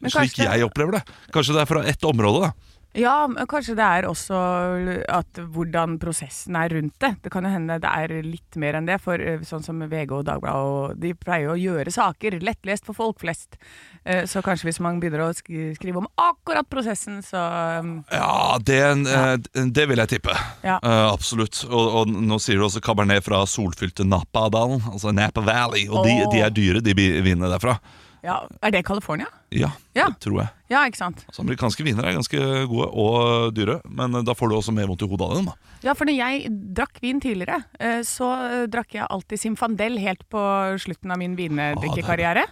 C: Men
B: slik
C: kanskje-
B: jeg opplever det. Kanskje det er fra ett område, da.
C: Ja, men kanskje det er også at hvordan prosessen er rundt det. Det kan jo hende det er litt mer enn det, for eh, sånn som VG og Dagbladet, og de pleier jo å gjøre saker lettlest for folk flest. Eh, Så kanskje hvis man begynner å sk- skrive om akkurat prosessen, så um,
B: Ja, det, eh, det vil jeg tippe.
C: Ja.
B: Eh, absolutt. Og, og nå sier du også Cabernet fra solfylte Napa-dalen, altså Napa Valley. Og de,
C: Åh.
B: de er dyre, de bi- vinene derfra.
C: Ja, er det California?
B: Ja,
C: Ja.
B: det tror jeg.
C: Ja, ikke sant?
B: Altså, amerikanske viner er ganske gode og dyre, men eh, da får du også mer vondt i hodet av dem. da.
C: Ja, for når jeg drakk vin tidligere, eh, så eh, drakk jeg alltid Simfandel helt på slutten av min vinedrikkekarriere.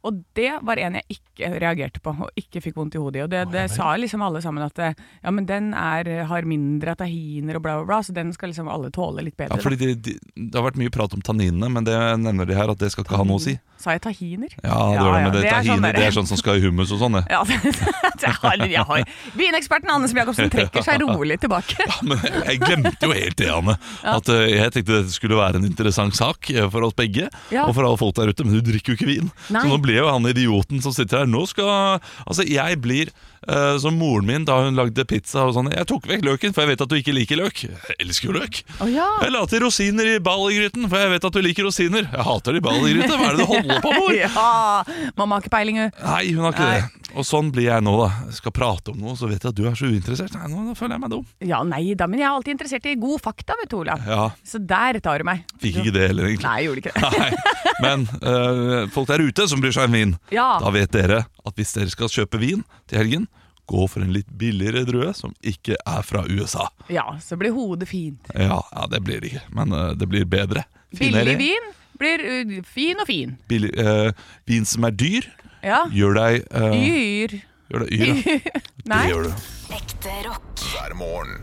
C: Og det var en jeg ikke reagerte på, og ikke fikk vondt i hodet i. Og det, det sa liksom alle sammen at eh, ja, men den er, eh, har mindre tahiner og bla, bla, bla, så den skal liksom alle tåle litt bedre.
B: Ja, fordi de, de, Det har vært mye prat om tanninene, men det nevner de her at det skal ikke ha noe å si.
C: da. Sa jeg tahiner?
B: Ja, det gjør det, men det,
C: er sånn
B: tahini,
C: der-
B: det er sånn som skal i hummus og sånn, det.
C: Ja, jeg har, jeg har. Vineksperten Anders Jacobsen trekker seg rolig tilbake.
B: Men jeg glemte jo helt det, Anne. At eh, Jeg tenkte dette skulle være en interessant sak eh, for oss begge.
C: Ja.
B: Og for alle folk der ute, men du drikker jo ikke vin.
C: Nei.
B: Så nå ble jo han idioten som sitter her. Nå skal Altså, jeg blir eh, som moren min da hun lagde pizza og sånn. Jeg tok vekk løken, for jeg vet at du ikke liker løk. Jeg elsker jo løk.
C: Å ja.
B: Jeg la til rosiner i ballegryten, for jeg vet at du liker rosiner. Jeg hater de ballegrytene. Hva er det du holder på med?
C: Ja, mamma har ikke peiling, hun.
B: Nei, hun har ikke det. Og sånn blir jeg nå, da. Jeg skal prate om noe, så vet jeg at du er så uinteressert. Nei, nå føler jeg meg dum.
C: Ja, nei da, men jeg er alltid interessert i god fakta, vet du, Olav.
B: Ja,
C: Så der tar du meg.
B: Fikk ikke det heller, egentlig.
C: Nei, jeg gjorde ikke det.
B: Nei, men øh, folk der ute som bryr seg om vin,
C: Ja.
B: da vet dere at hvis dere skal kjøpe vin til helgen, gå for en litt billigere drue som ikke er fra USA.
C: Ja, så blir hodet fint.
B: Ja, ja det blir det ikke, men øh, det blir bedre.
C: Billig vin blir uh, fin og fin.
B: Billig, øh, vin som er dyr,
C: Ja.
B: gjør deg øh,
C: Dyr.
B: Gjør deg yr. ja.
C: Nei.
B: Det gjør du.
D: Ekte rock.
A: hver morgen.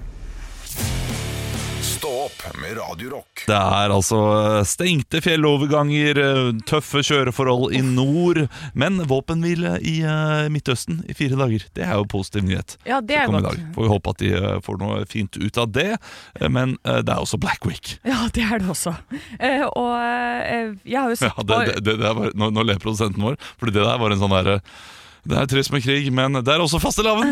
A: Stå opp med Radio Rock.
B: Det er altså øh, stengte fjelloverganger, øh, tøffe kjøreforhold i nord, men våpenhvile i øh, Midtøsten i fire dager. Det er jo positiv nyhet.
C: Ja,
B: som
C: det er
B: kom i
C: godt.
B: dag. Får vi håpe at de eh, får noe fint ut av det. Eh, Men eh, det er også Black Week.
C: Ja, det er det også. Eh, og eh, jeg har jo
B: Ja,
C: sett
B: det, det, det der var, nå, nå ler produsenten vår, for det der var en sånn derre det er trist med krig, men det er også fastelavn!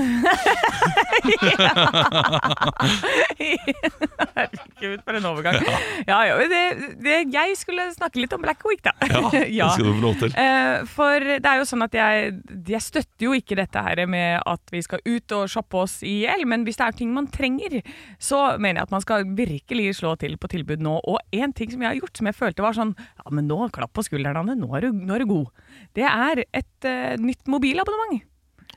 C: Herregud, for en overgang. Ja, ja, men det, det, jeg skulle snakke litt om Black Week, da.
B: Ja, Det skal du få lov til.
C: Eh, for det er jo sånn at jeg, jeg støtter jo ikke dette her med at vi skal ut og shoppe oss i hjel, men hvis det er ting man trenger, så mener jeg at man skal virkelig slå til på tilbud nå. Og en ting som jeg har gjort som jeg følte var sånn Ja, men nå, klapp på skulderen, Anne, nå er du, nå er du god. Det er et eh, nytt mobilabonnement.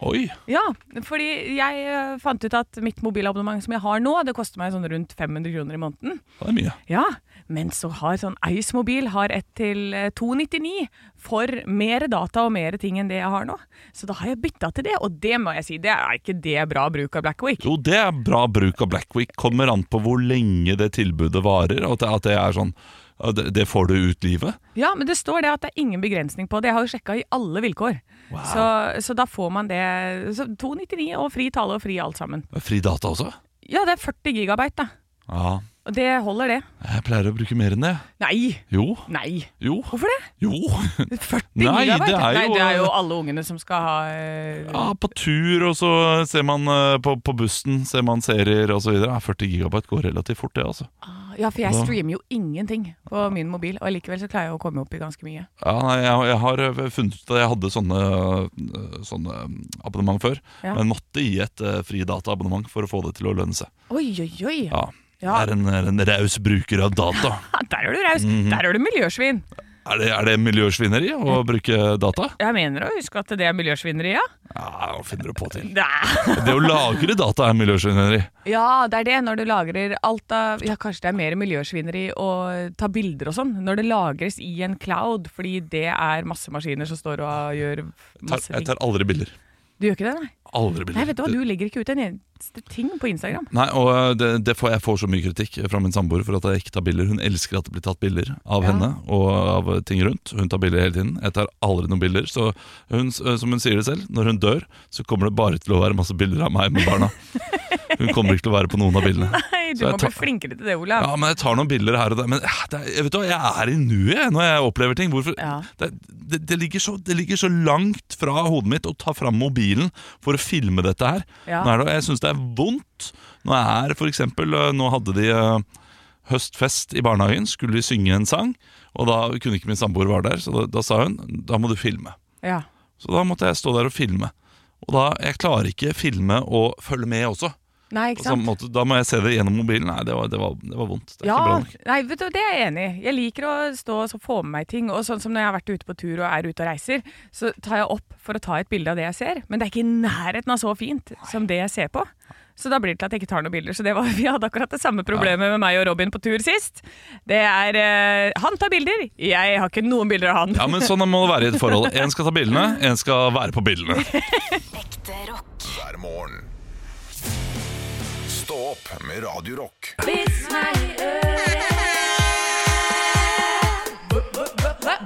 B: Oi!
C: Ja, fordi jeg eh, fant ut at mitt mobilabonnement som jeg har nå, det koster meg sånn rundt 500 kroner i måneden.
B: Det er mye.
C: Ja, men så har sånn Ice-mobil har et til eh, 299 for mer data og mer ting enn det jeg har nå. Så da har jeg bytta til det, og det må jeg si, det er ikke det bra bruk av Black Week.
B: Jo, det er bra bruk av Black Week. Kommer an på hvor lenge det tilbudet varer. Og at det- at det er sånn ja, Det, det får du ut livet.
C: Ja, men det står det at det er ingen begrensning på det. Jeg har jo sjekka i alle vilkår. Så, så da får man det så 299 og fri tale og fri alt sammen.
B: Fri data også?
C: Ja, det er 40 gigabyte, da.
B: Ja.
C: Og det holder, det.
B: Jeg pleier å bruke mer enn det.
C: Nei!
B: Jo.
C: Nei!
B: Jo.
C: Hvorfor det?
B: Jo.
C: 40
B: Nei, det
C: gigabyte?
B: er jo-
C: Nei, det er jo alle ungene som skal ha eh,
B: Ja, på tur, og så ser man eh, på, på bussen, ser man serier osv. 40 gigabyte går relativt fort, det, altså.
C: Ja, for jeg
B: Da-
C: streamer jo ingenting på min mobil, og likevel så klarer jeg å komme opp i ganske mye.
B: Ja, nei, jeg, jeg har eh, funnet ut at jeg hadde sånne, eh, sånne eh, abonnement før,
C: Ja.
B: men måtte gi et eh, fri dataabonnement for å få det til å lønne seg.
C: Oi, oi, oi!
B: Ja.
C: Ja.
B: Jeg Er en, er en raus bruker av data. Mhm.
C: Der er du raus! Der er du miljøsvin!
B: Er det, er det miljøsvineri å bruke data?
C: Jeg mener å huske at det er miljøsvineri, ja.
B: Ja, hva finner du på til?
C: Nei.
B: Det å lagre data er miljøsvineri.
C: Ja, det er det. Når du lagrer alt av Ja, kanskje det er mer miljøsvineri å ta bilder og sånn. Når det lagres i en cloud, fordi det er masse maskiner som står og gjør
B: Tar,
C: masse
B: jeg
C: ting.
B: tar aldri bilder.
C: Du gjør ikke det, nei?
B: Aldri bilder.
C: Nei, vet du hva, du legger ikke ut en eneste ting på Instagram.
B: Nei, og eh, det, det får, Jeg får så mye kritikk fra min samboer for at jeg ikke tar bilder. Hun elsker at det blir tatt bilder av
C: Ja.
B: henne og av ting rundt. Hun tar bilder hele tiden. Jeg tar aldri noen bilder. Så hun, s- eh, som hun sier det selv, når hun dør, så kommer det bare til å være masse bilder av meg med barna. Hun kommer ikke til å være på noen av bildene.
C: Nei, du
B: Så jeg
C: må
B: tar-
C: bli flinkere til det, Olav.
B: Ja, men jeg tar noen bilder her og der. Men eh, det er, jeg vet du, hva, jeg er i nuet jeg, når jeg opplever ting. Hvorfor?
C: Ja.
B: Det, det, det, ligger så, det ligger så langt fra hodet mitt å ta fram mobilen for å filme dette her.
C: Ja.
B: Nå er det, jeg syns det er vondt. Nå er for eksempel, øh, nå hadde de øh, høstfest i barnehagen, skulle de synge en sang, og da kunne ikke min samboer være der, så da, da sa hun da må du filme.
C: Ja.
B: Så da måtte jeg stå der og filme. Og da, Jeg klarer ikke filme og følge med også.
C: Nei,
B: På
C: ikke
B: samme
C: sant?
B: måte, da må jeg se det gjennom mobilen. Nei, det var, det var, det var vondt. Det er
C: Ja,
B: ikke bra nok.
C: nei, vet du, det er jeg enig i. Jeg liker å stå og så få med meg ting. Og sånn som når jeg har vært ute på tur og er ute og reiser, så tar jeg opp for å ta et bilde av det jeg ser. Men det er ikke i nærheten av så fint som det jeg ser på. Så da blir det til at jeg ikke tar noen bilder. Så det var, vi hadde akkurat det samme problemet med meg og Robin på tur sist. Det er eh, Han tar bilder, jeg har ikke noen bilder av han.
B: Ja, men Sånn må det være i et forhold. Én skal ta bildene, én skal være på bildene.
D: Ekte rock.
A: hver morgen. Stå opp med Radio Rock.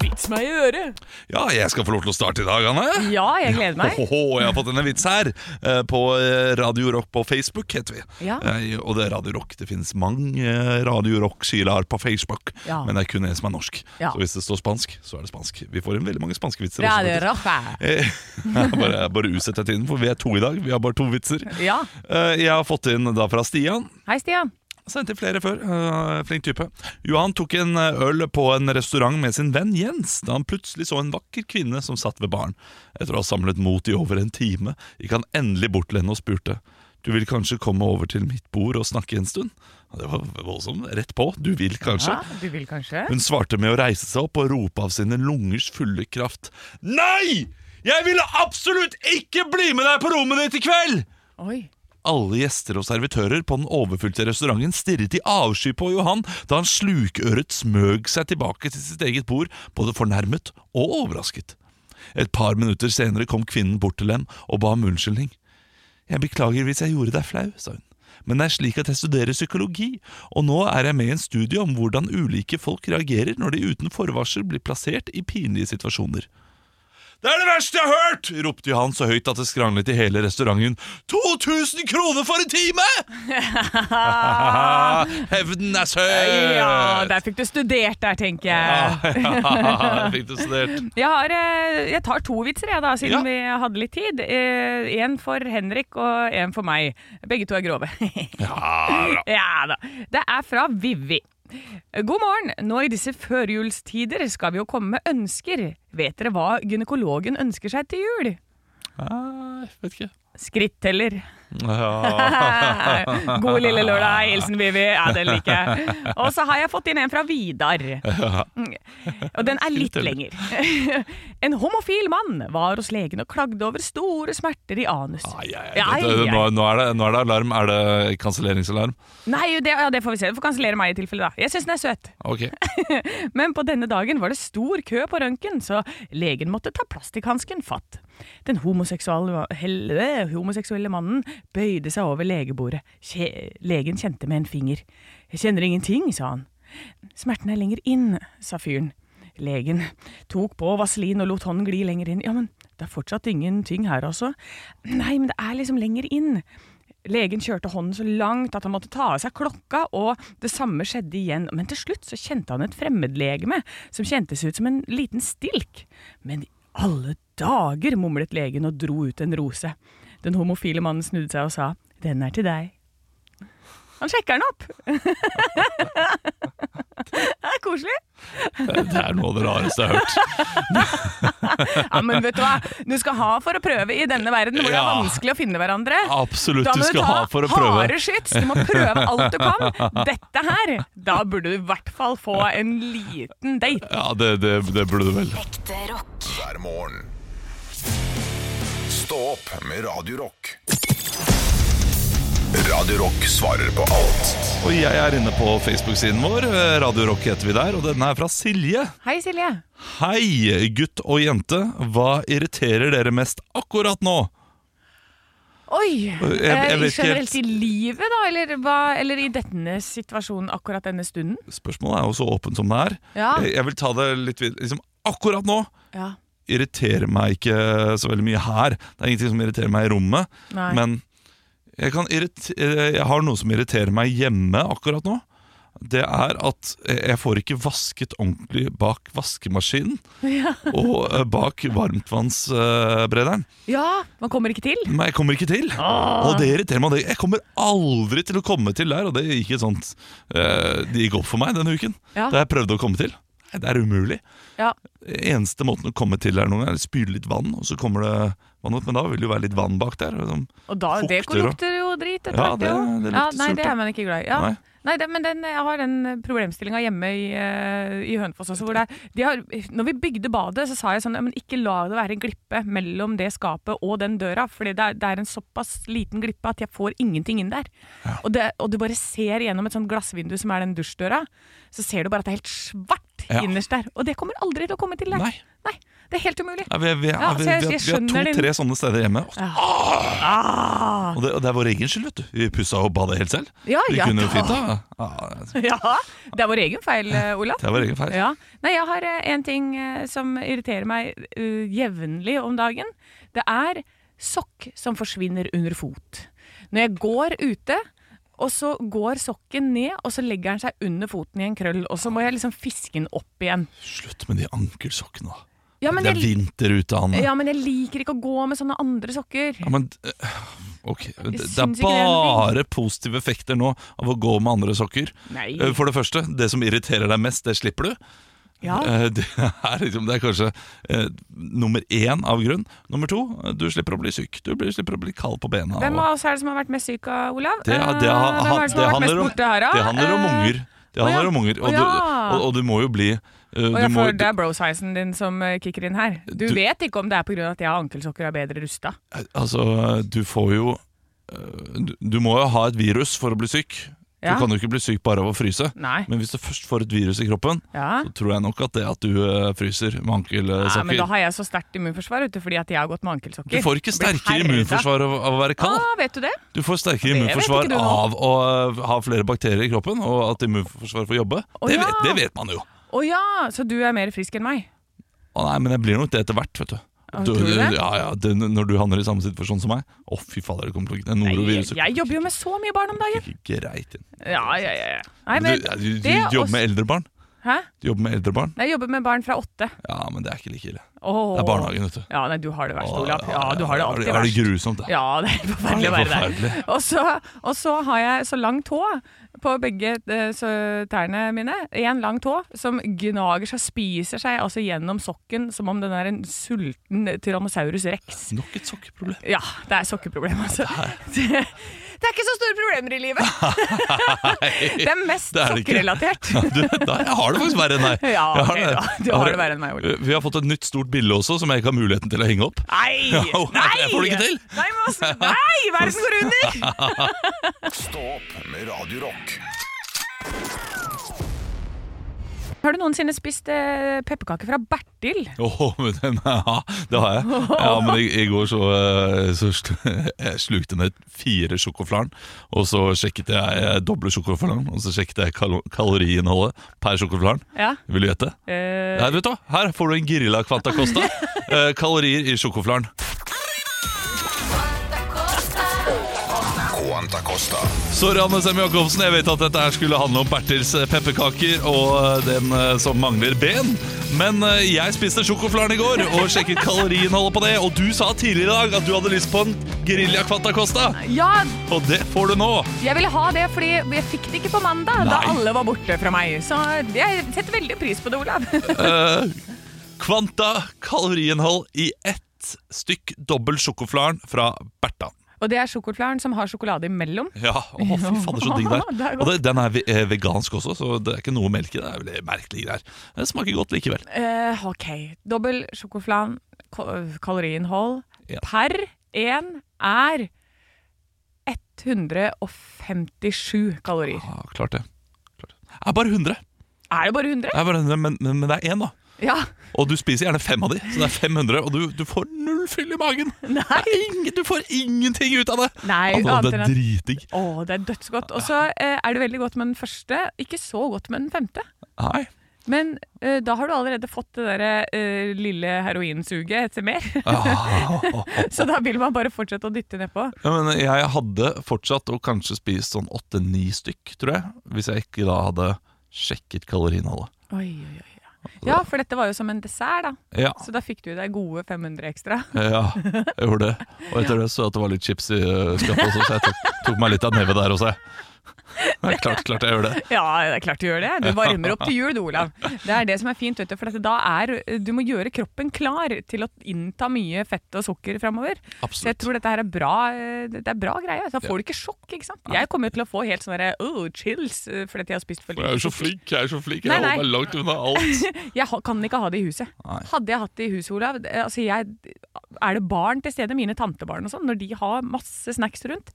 C: Vits meg i øret.
B: Ja, jeg skal få lov til å starte i dag, Anne.
C: Ja, jeg gleder meg.
B: Ho, ho, ho, jeg har fått en vits her eh, på eh, Radio Rock på Facebook, heter vi.
C: Ja.
B: Eh, Og det er Radio Rock. Det finnes mange eh, Radio Rock-sider på Facebook,
C: Ja.
B: men det er kun en som er norsk.
C: Ja.
B: Så hvis det står spansk, så er det spansk. Vi får inn veldig mange spanske vitser.
C: Ja,
B: også,
C: det er
B: faktisk.
C: rart.
B: Eh, bare bare utsett deg tiden, for vi er to i dag. Vi har bare to vitser.
C: Ja.
B: Eh, Jeg har fått inn da fra Stian.
C: Hei, Stian.
B: Sendt inn flere før. øh, flink type. Johan tok en eh, øl på en restaurant med sin venn Jens da han plutselig så en vakker kvinne som satt ved baren. Etter å ha samlet mot i over en time gikk han endelig bort til henne og spurte. Du vil kanskje komme over til mitt bord og snakke en stund? Ja, Det var voldsomt. Rett på. Du vil kanskje?
C: Ja, du vil kanskje?
B: Hun svarte med å reise seg opp og rope av sine lungers fulle kraft. Nei! Jeg ville absolutt ikke bli med deg på rommet ditt i kveld!
C: Oi.
B: Alle gjester og servitører på den overfylte restauranten stirret i avsky på Johan da han slukøret smøg seg tilbake til sitt eget bord, både fornærmet og overrasket. Et par minutter senere kom kvinnen bort til dem og ba om unnskyldning. Jeg beklager hvis jeg gjorde deg flau, sa hun. Men det er slik at jeg studerer psykologi, og nå er jeg med i en studie om hvordan ulike folk reagerer når de uten forvarsel blir plassert i pinlige situasjoner. Det er det verste jeg har hørt! ropte Johan så høyt at det skranglet i hele restauranten. 2000 kroner for en time! Ah. Hevnen er søt!
C: Ah. Ja, der fikk du studert der, tenker
B: Ah.
C: jeg.
B: Ja, Fikk du studert?
C: Jeg, har, eh, jeg tar to vitser, jeg, da, siden
B: Ja.
C: vi hadde litt tid. Én for Henrik og én for meg. Begge to er grove.
B: Ja, bra.
C: ja da. Det er fra Vivi. God morgen. Nå i disse førjulstider skal vi jo komme med ønsker. Vet dere hva gynekologen ønsker seg til jul?
B: Nei, jeg vet ikke.
C: Skritteller.
B: Ja.
C: God lille lørdag. Hilsen Vivi. Ja, den liker jeg. Og så har jeg fått inn en fra Vidar. Og den er litt lenger. En homofil mann var hos legen og klagde over store smerter i anus.
B: Ai, ai, ai.
C: Ai,
B: Dette- Nå,
C: ai.
B: nå, er det, nå er det alarm. Er det kanselleringsalarm?
C: Nei, det, ja, det får vi se. Du får kansellere meg i tilfelle, da. Jeg syns den er søt.
B: Ok.
C: Men på denne dagen var det stor kø på røntgen, så legen måtte ta plastikkhansken fatt. Den homoseksuelle, helle, homoseksuelle mannen bøyde seg over legebordet. Kje, legen kjente med en finger. Jeg kjenner ingenting, sa han. Smerten er lenger inn, sa fyren. Legen tok på vaselin og lot hånden gli lenger inn. Ja, men det er fortsatt ingenting her, altså. Nei, men det er liksom lenger inn. Legen kjørte hånden så langt at han måtte ta av seg klokka, og det samme skjedde igjen. Men til slutt så kjente han et fremmedlegeme som kjentes ut som en liten stilk. Men i alle dager, mumlet legen og dro ut en rose. Den homofile mannen snudde seg og sa, den er til deg. Han sjekker den opp! det er koselig.
B: Det er noe av det rareste jeg har hørt.
C: Ja, men vet du hva? Du skal ha for å prøve i denne verden hvor det er
B: Ja.
C: vanskelig å finne hverandre.
B: Absolutt,
C: Da
B: du
C: må du
B: skal ha for
C: ta
B: å prøve.
C: harde skyts. Du må prøve alt du kan. Dette her, da burde du i hvert fall få en liten date.
B: Ja, det, det, det burde du vel.
D: Ekte rock.
A: hver morgen. Stå opp med Radio Rock. Radio Rock svarer på alt
B: Og jeg er inne på Facebook-siden vår. eh, Radio Rock heter vi der, og denne er fra Silje.
C: Hei, Silje.
B: Hei, gutt og jente. Hva irriterer dere mest akkurat nå?
C: Oi!
B: jeg vet
C: eh,
B: ikke
C: generelt i
B: helt.
C: livet, da? Eller, hva, eller i denne situasjonen akkurat denne stunden?
B: Spørsmålet er jo så åpent som det er.
C: Ja.
B: Jeg, jeg vil ta det litt vid- liksom, Akkurat nå
C: Ja.
B: irriterer meg ikke så veldig mye her. Det er ingenting som irriterer meg i rommet.
C: Nei.
B: Men jeg, kan irrit- eh, jeg har noe som irriterer meg hjemme akkurat nå. Det er at eh, jeg får ikke vasket ordentlig bak vaskemaskinen og eh, bak varmtvannsberederen.
C: ja, man kommer ikke til.
B: Men jeg kommer ikke til.
C: Ah.
B: Og det irriterer meg. det- Jeg kommer aldri til å komme til der. Og det gikk, et sånt, eh, det gikk opp for meg denne uken,
C: Ja.
B: da jeg prøvde å komme til. Nei, det er umulig.
C: Ja.
B: Eneste måten å komme til der noen gang, er å spyle litt vann, og så kommer det vann ut. Men da vil det jo være litt vann bak der. og Liksom.
C: Og da,
B: Fukter
C: det
B: og-
C: lukter jo drit etter
B: Ja,
C: hvert,
B: det-
C: jo.
B: det lukter
C: ja, Nei,
B: surt,
C: det
B: ja.
C: er man ikke glad i. Ja.
B: Nei.
C: Nei. det, men den, jeg har den problemstillinga hjemme i, eh, i Hønefoss også. Hvor det er, de har, når vi bygde badet, så sa jeg sånn ja, men Ikke la det være en glippe mellom det skapet og den døra. For det, er- det er en såpass liten glippe at jeg får ingenting inn der. Og, det, og du bare ser gjennom et sånt glassvindu som er den dusjdøra, så ser du bare at det er helt svart
B: Ja.
C: innerst der. Og det kommer aldri til å komme til der.
B: Nei.
C: Nei det er helt umulig.
B: Ja, vi, vi,
C: Ja,
B: vi, vi,
C: så jeg- jeg
B: vi har
C: skjønner din-
B: to-tre sånne steder hjemme. Og,
C: Ah.
B: og, det, og det er vår egen skyld, vet du. Vi pussa og bada helt selv.
C: Ja,
B: vi
C: ja,
B: kunne jo
C: da.
B: fint da. Ja,
C: Ja, det er vår egen feil, eh, Olav.
B: Det er vår egen feil.
C: Ja. Nei, jeg har eh, en ting eh, som irriterer meg eh, jevnlig om dagen. Det er sokk som forsvinner under fot. Når jeg går ute, og så går sokken ned, og så legger den seg under foten i en krøll, og så må jeg liksom fiske den opp igjen.
B: Slutt med de ankelsokkene, da.
C: Ja, men
B: det er
C: jeg,
B: vinter ute, Anne.
C: ja, men jeg liker ikke å gå med sånne andre sokker.
B: Ja, men eh, Ok, det, det er
C: syns ikke det er noe
B: bare positive effekter nå av å gå med andre sokker.
C: Nei.
B: Eh, For det første, det som irriterer deg mest, det slipper du.
C: Ja.
B: Eh, Det er, liksom, det er kanskje eh, nummer én av grunn. Nummer to, eh, du slipper å bli syk. Du blir, slipper å bli kald på bena. og-
C: Hvem av oss er det som har vært mest syk av Olav?
B: det,
C: Eh,
B: det, ha-
C: Hvem er det som
B: det
C: har vært
B: handler
C: mest
B: om,
C: borte her, da?
B: det handler om
C: Eh,
B: unger. Det
C: å ja.
B: handler om unger. Og,
C: Å
B: du,
C: ja.
B: og, og du må jo bli eh,
C: Og
B: du
C: ja,
B: må,
C: for Det er bro-sizen din som eh, kicker inn her. Du,
B: Du-
C: vet ikke om det er pga. at jeg har ankelsokker og er bedre rusta.
B: Altså, du får jo øh, du, du må jo ha et virus for å bli syk.
C: Ja.
B: Du kan jo ikke bli syk bare av å fryse.
C: Nei.
B: Men hvis du først får et virus i kroppen,
C: Ja.
B: så tror jeg nok at det at du øh, fryser med
C: Ja, men
B: ankelsokker
C: da har jeg så sterkt immunforsvar ute fordi at jeg har gått med ankelsokker.
B: Du får ikke
C: Jeg blir
B: sterkere
C: herda.
B: immunforsvar av, av å være kald.
C: Ah, vet du det?
B: Du får sterkere
C: Det vet ikke
B: immunforsvar
C: du nå.
B: av å øh, ha flere bakterier i kroppen, og at immunforsvaret får jobbe.
C: Å,
B: det,
C: ja.
B: vet, det vet man jo.
C: Å ja, så du er mer frisk enn meg.
B: Å, nei, men jeg blir nok det etter hvert, vet du.
C: Ja, tror du det?
B: ja, ja, det, når du havner i samme situasjon som meg Å, fy fader, det kommer til å Det er
C: Nei, jeg,
B: noroviruset.
C: jeg jobber jo med så mye barn om dagen.
B: Ikke greit inn.
C: Ja, ja, ja. ja. Nei,
B: Men
C: men
B: du, ja, du, du
C: det er
B: jobber
C: også-
B: med eldre barn.
C: Hæ?
B: Du jobber med eldre barn.
C: Nei, Jeg jobber med barn fra åtte.
B: Ja, men det er ikke like ille.
C: Åh.
B: Det er barnehagen, vet du.
C: Ja, nei, du har det verst,
B: Åh,
C: Olav. Ja, du har det alltid
B: er, er det
C: verst.
B: grusomt, da?
C: Ja, det er forferdelig
B: Ja,
C: å
B: det er
C: være der.
B: forferdelig.
C: Og så, og så har jeg så lang tå på begge eh, så tærne mine. En lang tå som gnager seg, spiser seg altså gjennom sokken som om den er en sulten tyrannosaurus rex.
B: Nok et sokkeproblem.
C: Ja, det er sokkeproblem, altså. Det, det er ikke så store problemer i livet. Det er mest
B: det er det ikke.
C: sokkerelatert.
B: Du, da, jeg har det faktisk verre enn deg.
C: Ja,
B: Jeg
C: ok, da. Du
B: Jeg
C: har det verre enn meg, Ole.
B: Vi har fått et nytt stort bilde også, som jeg ikke har muligheten til å henge opp.
C: Nei!
B: Jo,
C: Nei!
B: jeg får det ikke til.
C: Nei, men altså, nei, verden går under!
A: Stå opp med Radio Rock
C: Har du noensinne spist eh, pepperkake fra Bertil?
B: Åh, men den, ja, det har jeg. Ja, men i, i går så, eh, så sl- jeg slukte ned fire sjokoflarn, og så sjekket jeg eh, doble sjokoflarn, og så sjekket jeg kalo- kaloriinnholdet per sjokoflarn.
C: Ja.
B: Vil du gjette?
C: Eh,
B: Her, vet du, hva? her får du en grilla Quanta Costa. Eh, kalorier i sjokoflarn.
A: Quanta Costa
B: Sorry, Anne Sem Jacobsen. Jeg vet at dette her skulle handle om Bertils pepperkaker og eh, den eh, som eh, mangler ben. Men eh, jeg spiste sjokoflaren i går og sjekket kaloriinnholdet på det. Og du sa tidligere i dag at du hadde lyst på en Guerilla Quanta Costa,
C: Ja,
B: og det får du nå.
C: jeg ville ha det fordi jeg fikk det ikke på mandag, da
B: Nei.
C: alle var borte fra meg. Så jeg setter veldig pris på det, Olav.
B: Eh, Kvanta kaloriinnhold i ett stykk dobbel sjokoflaren fra Bertan.
C: Og det er sjokolflaren som har sjokolade imellom.
B: Ja, å fy fader så digg der.
C: Det er
B: Og det, den er ve- eh, vegansk også, så det er ikke noe melk i det. Det er veldig merkelige greier. Men Det smaker godt likevel.
C: Eh, ok. Dobbel sjokoflan, ka- kaloriinnhold
B: Ja.
C: per én er 157 kalorier.
B: Ja, klart det. Klart det. Det er bare 100.
C: Er det bare 100?
B: Det er bare 100 men, men, men det er én, da.
C: Ja.
B: Og du spiser gjerne fem av de, så det er 500. Og du, du får null fyll i magen! Det er ingen, du får ingenting ut av det!
C: Nei,
B: Altså,
C: annet
B: det er
C: enn
B: Ah.
C: at
B: dritdigg.
C: Å, det er dødsgodt. Og så eh, er det veldig godt med den første, ikke så godt med den femte.
B: Nei.
C: Men eh, da har du allerede fått det derre eh, lille heroinsuget etter mer. så da vil man bare fortsette å dytte nedpå.
B: Ja, men jeg hadde fortsatt å kanskje spise sånn åtte-ni stykk, tror jeg. Hvis jeg ikke da hadde sjekket kaloriinnholdet.
C: Oi, oi, oi. Ja. ja, for dette var jo som en dessert, da.
B: Ja,
C: Så da fikk du i deg gode 500 ekstra.
B: ja, jeg gjorde det. Og etter det så jeg at det var litt chips i eh, skapet også, så jeg tok, tok meg litt av nevet der også. jeg. Det er klart, klart jeg gjør det.
C: Ja, det er klart du gjør det. Du varmer opp til jul, du, Olav. Det er det som er fint, vet du. For dette da er eh, Du må gjøre kroppen klar til å innta mye fett og sukker framover. Så jeg
B: Absolutt.
C: tror dette her er bra eh, Det er bra greie. Da får du ikke sjokk, ikke sant. Jeg kommer jo til å få helt sånne der, oh, chills eh, fordi jeg har spist for lite. sukker.
B: jeg er så flink,
C: Nei, nei.
B: langt unna alt.
C: Jeg ha- kan ikke ha det i huset.
B: Nei.
C: Hadde jeg hatt det i huset, Olav det- altså jeg, Er det barn til stede, mine tantebarn og sånn, når de har masse snacks rundt?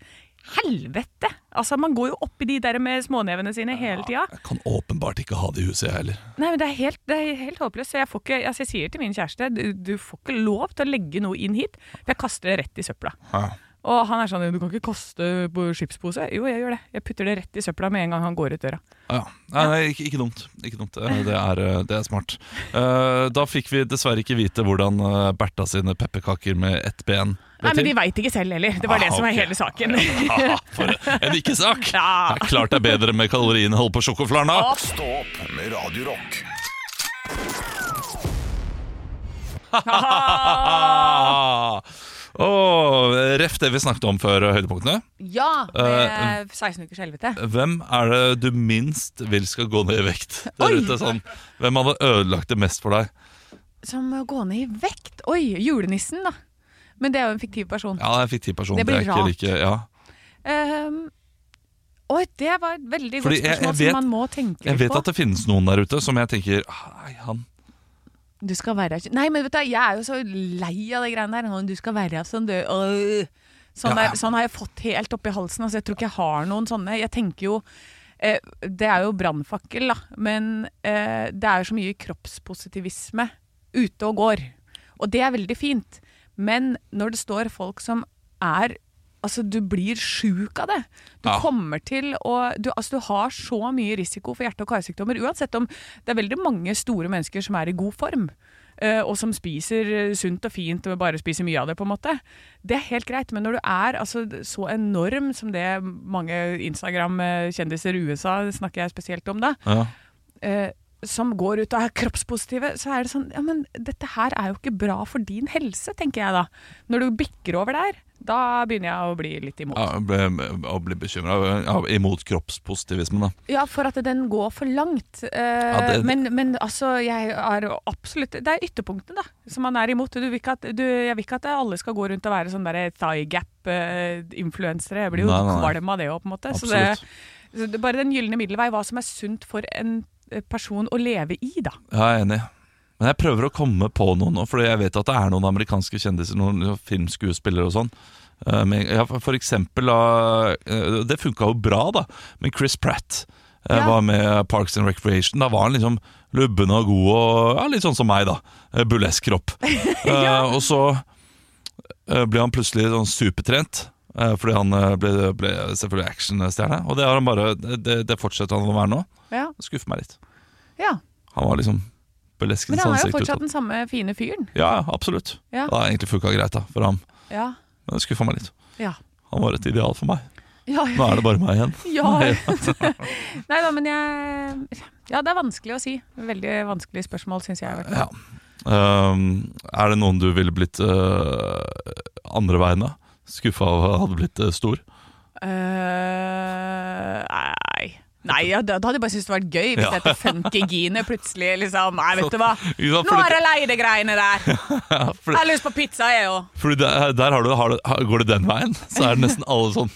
C: Helvete! Altså, man går jo oppi de der med smånevene sine hele tida.
B: Jeg kan åpenbart ikke ha det i huset, jeg heller.
C: Nei, men det er helt, det er helt håpløst. Så jeg, får ikke, altså jeg sier til min kjæreste du, du får ikke lov til å legge noe inn hit, for jeg kaster det rett i søpla.
B: Ja.
C: Og han er sånn Du kan ikke kaste på chipspose. Jo, jeg gjør det. Jeg putter det rett i søpla med en gang han går ut døra.
B: Ah, Ja. Nei, nei, ikke, ikke dumt. Ikke dumt. Eh, Det er, eh, det er smart. Eh, Da fikk vi dessverre ikke vite hvordan eh, Bertha sine pepperkaker med ett ben ble
C: Nei, men
B: til.
C: de veit ikke selv heller. Det var
B: Ah,
C: det som var
B: ok.
C: hele saken.
B: Haha, For en ikke-sak!
C: Ja.
B: Det er klart det er bedre med kaloriinnhold på sjokoflaren. da.
A: Stå opp med Radio Rock.
B: Ah. Åh, ref det vi snakket om før eh, høydepunktene.
C: Ja,
B: Eh,
C: med 16 ukers helvete.
B: Hvem er det du minst vil skal gå ned i vekt? Der
C: Oi.
B: ute, sånn. Hvem hadde ødelagt det mest for deg?
C: Som å gå ned i vekt. Oi, julenissen, da. Men det er jo en fiktiv person.
B: Ja, jeg fikk ti personer.
C: Det blir
B: er ikke
C: rart.
B: like, ja.
C: Ehm, oi, det var et veldig
B: Fordi
C: godt
B: jeg- jeg
C: spørsmål
B: vet-
C: som man må tenke
B: Jeg
C: litt
B: vet
C: på.
B: at det finnes noen der ute som jeg tenker «Ah, Nei, han
C: Du skal være her Nei, men vet du, jeg er jo så lei av det greiene der. Nå, Du skal være her sånn, du. Øh. Sånn,
B: Ja, ja.
C: er, sånn har jeg fått helt oppi halsen. Altså, jeg tror ikke jeg har noen sånne. Jeg tenker jo eh, Det er jo brannfakkel, da. Men eh, det er jo så mye kroppspositivisme ute og går. Og det er veldig fint. Men når det står folk som er Altså, du blir sjuk av det. Du
B: Ja.
C: kommer til å du, altså, du har så mye risiko for hjerte- og karsykdommer. Uansett om det er veldig mange store mennesker som er i god form. eh, Og som spiser eh, sunt og fint og bare spiser mye av det, på en måte. Det er helt greit, men når du er altså, så enorm som det mange Instagram-kjendiser i USA snakker jeg spesielt om, da,
B: ja.
C: eh, som går ut og er kroppspositive, så er det sånn Ja, men dette her er jo ikke bra for din helse, tenker jeg da. Når du bikker over der, da begynner jeg å bli litt imot.
B: Ja, jeg ble, jeg ble bekymra ja, imot kroppspositivismen, da.
C: Ja, for at den går for langt. Eh,
B: det-
C: men, men altså, jeg er jo absolutt Det er ytterpunktene, da, som man er imot. Du vil ikke at, du, jeg vil ikke at alle skal gå rundt og være sånne der thigh gap-influensere. jeg blir jo
B: Nei, nei, nei.
C: kvalm av det òg, på en måte. Så det,
B: Absolutt.
C: så det, bare den gylne middelvei, hva som er sunt for en eh, person å leve i, da.
B: Jeg er enig. Men jeg prøver å komme på noe nå, for jeg vet at det er noen amerikanske kjendiser, noen filmskuespillere og sånn. Eh, men- Ja, for eksempel da, eh, Det funka jo bra, da, men Chris Pratt eh,
C: Ja.
B: var med Parks and Recreation. Da var han liksom lubben og god og ja, litt sånn som meg, da. Eh, Burlesk kropp. Eh, og så eh, ble han plutselig sånn supertrent. eh, Fordi han eh, ble, ble selvfølgelig actionstjerne. Og det, har han bare, det, det fortsetter han å være nå.
C: Ja.
B: Det skuffer meg litt.
C: ja.
B: Han var liksom beleskens
C: Men han er
B: ansikt
C: jo fortsatt
B: utad.
C: den samme fine fyren.
B: Ja, ja, absolutt.
C: Ja.
B: Det har egentlig funka greit da, for ham.
C: Ja.
B: Men det skuffa meg litt.
C: ja.
B: Han var et ideal for meg.
C: Ja,
B: Nå er det bare meg igjen.
C: ja. Nei da, men jeg Ja, det er vanskelig å si. Veldig vanskelig spørsmål, syns jeg. i hvert fall.
B: Ja. Ehm, er det noen du ville blitt eh, andre veien av? Skuffa over at hadde blitt eh, stor?
C: Eh, nei. Nei, ja, da, da hadde jeg bare syntes det var gøy hvis
B: Ja.
C: det het Funkygine plutselig. liksom Nei, vet du hva.
B: Ikke sant?
C: Nå
B: Fordi-
C: er det leide-greiene der. Jeg
B: Ja, fordi,
C: har lyst på pizza, jeg òg.
B: fordi der, der har du, har du, har, går det den veien, så er det nesten alle sånn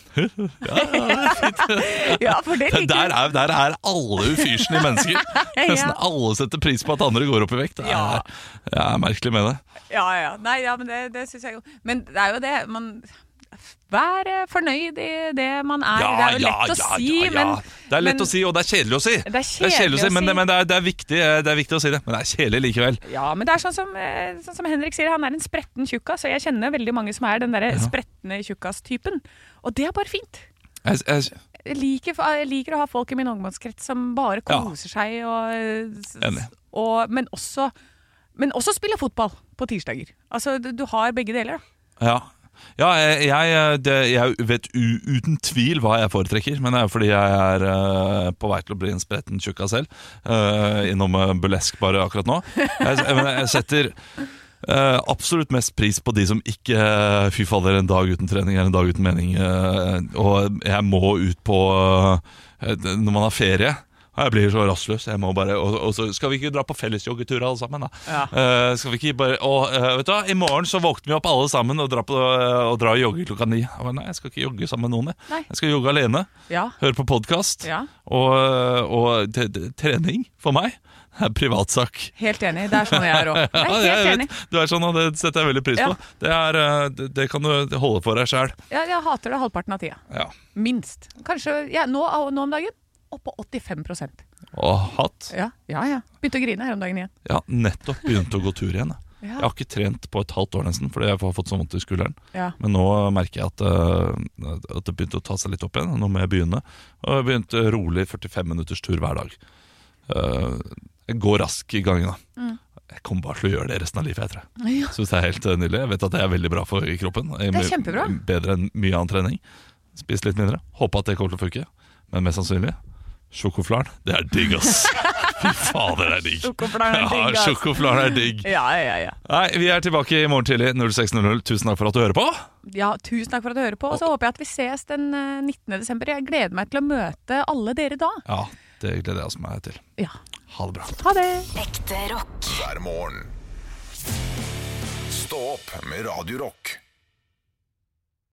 C: Ja, for det liker
B: Der er, der er alle ufyselige mennesker. Nesten alle setter pris på at andre går opp i vekt. Det
C: Ja.
B: er, det er merkelig med det.
C: Ja, ja. Nei, ja, men det, det syns jeg jo. Men det er jo det man Vær eh, fornøyd i det man er. det er jo lett å si, men
B: Det er lett
C: men-
B: å si, og det er kjedelig å si.
C: Det er kjedelig å si.
B: Men, det, men det, er, det, er viktig, eh, det er viktig å si det. Men det er kjedelig likevel.
C: Ja, men det er sånn som, eh, sånn som Henrik sier, han er en spretten tjukkas. Og jeg kjenner veldig mange som er den derre spretne tjukkas-typen. Og det er bare fint.
B: Jeg, jeg,
C: Jeg liker, jeg liker å ha folk i min omgangskrets som bare
B: Ja.
C: koser seg og, s-
B: Enig.
C: og Men også men også spiller fotball på tirsdager. Altså, du, du har begge deler. da.
B: Ja, ja jeg, jeg, det, jeg vet u, uten tvil hva jeg foretrekker, men det er fordi jeg er eh, på vei til å bli en spretten tjukka selv. eh, innom eh, burlesk bare akkurat nå. Jeg, jeg, men jeg setter eh, absolutt mest pris på de som ikke eh, Fy fader, en dag uten trening er en dag uten mening. eh, og jeg må ut på eh, Når man har ferie. Jeg blir så rastløs. Jeg må bare, og, og så skal vi ikke dra på fellesjoggetur alle sammen, da? Eh, skal vi ikke bare og, eh, vet du hva, I morgen så våkner vi opp alle sammen og drar, på, eh, og drar og jogger klokka ni. Jeg bare, nei, jeg skal ikke jogge sammen med noen.
C: Nei.
B: Jeg, jeg skal jogge alene.
C: Ja.
B: Høre på podkast.
C: ja.
B: Og, og t t trening for meg er privatsak.
C: Helt enig. Det er sånn jeg er òg. Jeg
B: Ja,
C: er
B: jeg
C: helt
B: vet.
C: enig.
B: Du er sånn, og det setter jeg veldig pris
C: Ja.
B: på. Det, er, eh, det, det kan du holde for deg sjæl.
C: Jeg, jeg hater det halvparten av tida.
B: Ja.
C: Minst. Kanskje ja, nå, nå om dagen oppå 85
B: Og hatt.
C: ja. ja, ja. Begynte å grine her om dagen igjen.
B: Jeg har nettopp begynt å gå tur igjen. jeg.
C: Ja.
B: Jeg har ikke trent på et halvt år nesten, fordi jeg har fått så vondt i skulderen.
C: Ja.
B: Men nå merker jeg at, eh, at det begynte å ta seg litt opp igjen. Nå må jeg begynne. Og jeg begynte rolig 45 minutters tur hver dag. Eh, Jeg går rask i gangen, da.
C: Mm.
B: Jeg kommer bare til å gjøre det resten av livet, jeg tror.
C: Ja.
B: Synes det er helt eh, nydelig. Jeg vet at det er veldig bra for kroppen. Det
C: er kjempebra.
B: Bedre enn mye annen trening. Spis litt mindre. Håper at det kommer til å funke. Men mest sannsynlig sjokoflaren. Det er digg, ass! Fy fader, det er digg.
C: Sjokoflaren er digg,
B: Ja,
C: ass.
B: sjokoflaren er digg.
C: Ja, ja, ja.
B: Nei, vi er tilbake i morgen tidlig 06.00. Tusen takk for at du hører på.
C: Ja, Tusen takk for at du hører på. Og så håper jeg at vi ses den eh, 19. desember. Jeg gleder meg til å møte alle dere da.
B: Ja, det gleder jeg meg til.
C: Ja.
B: Ha det bra.
C: Ha det!
D: Ekte rock.
A: hver morgen. Stå opp med Radio Rock.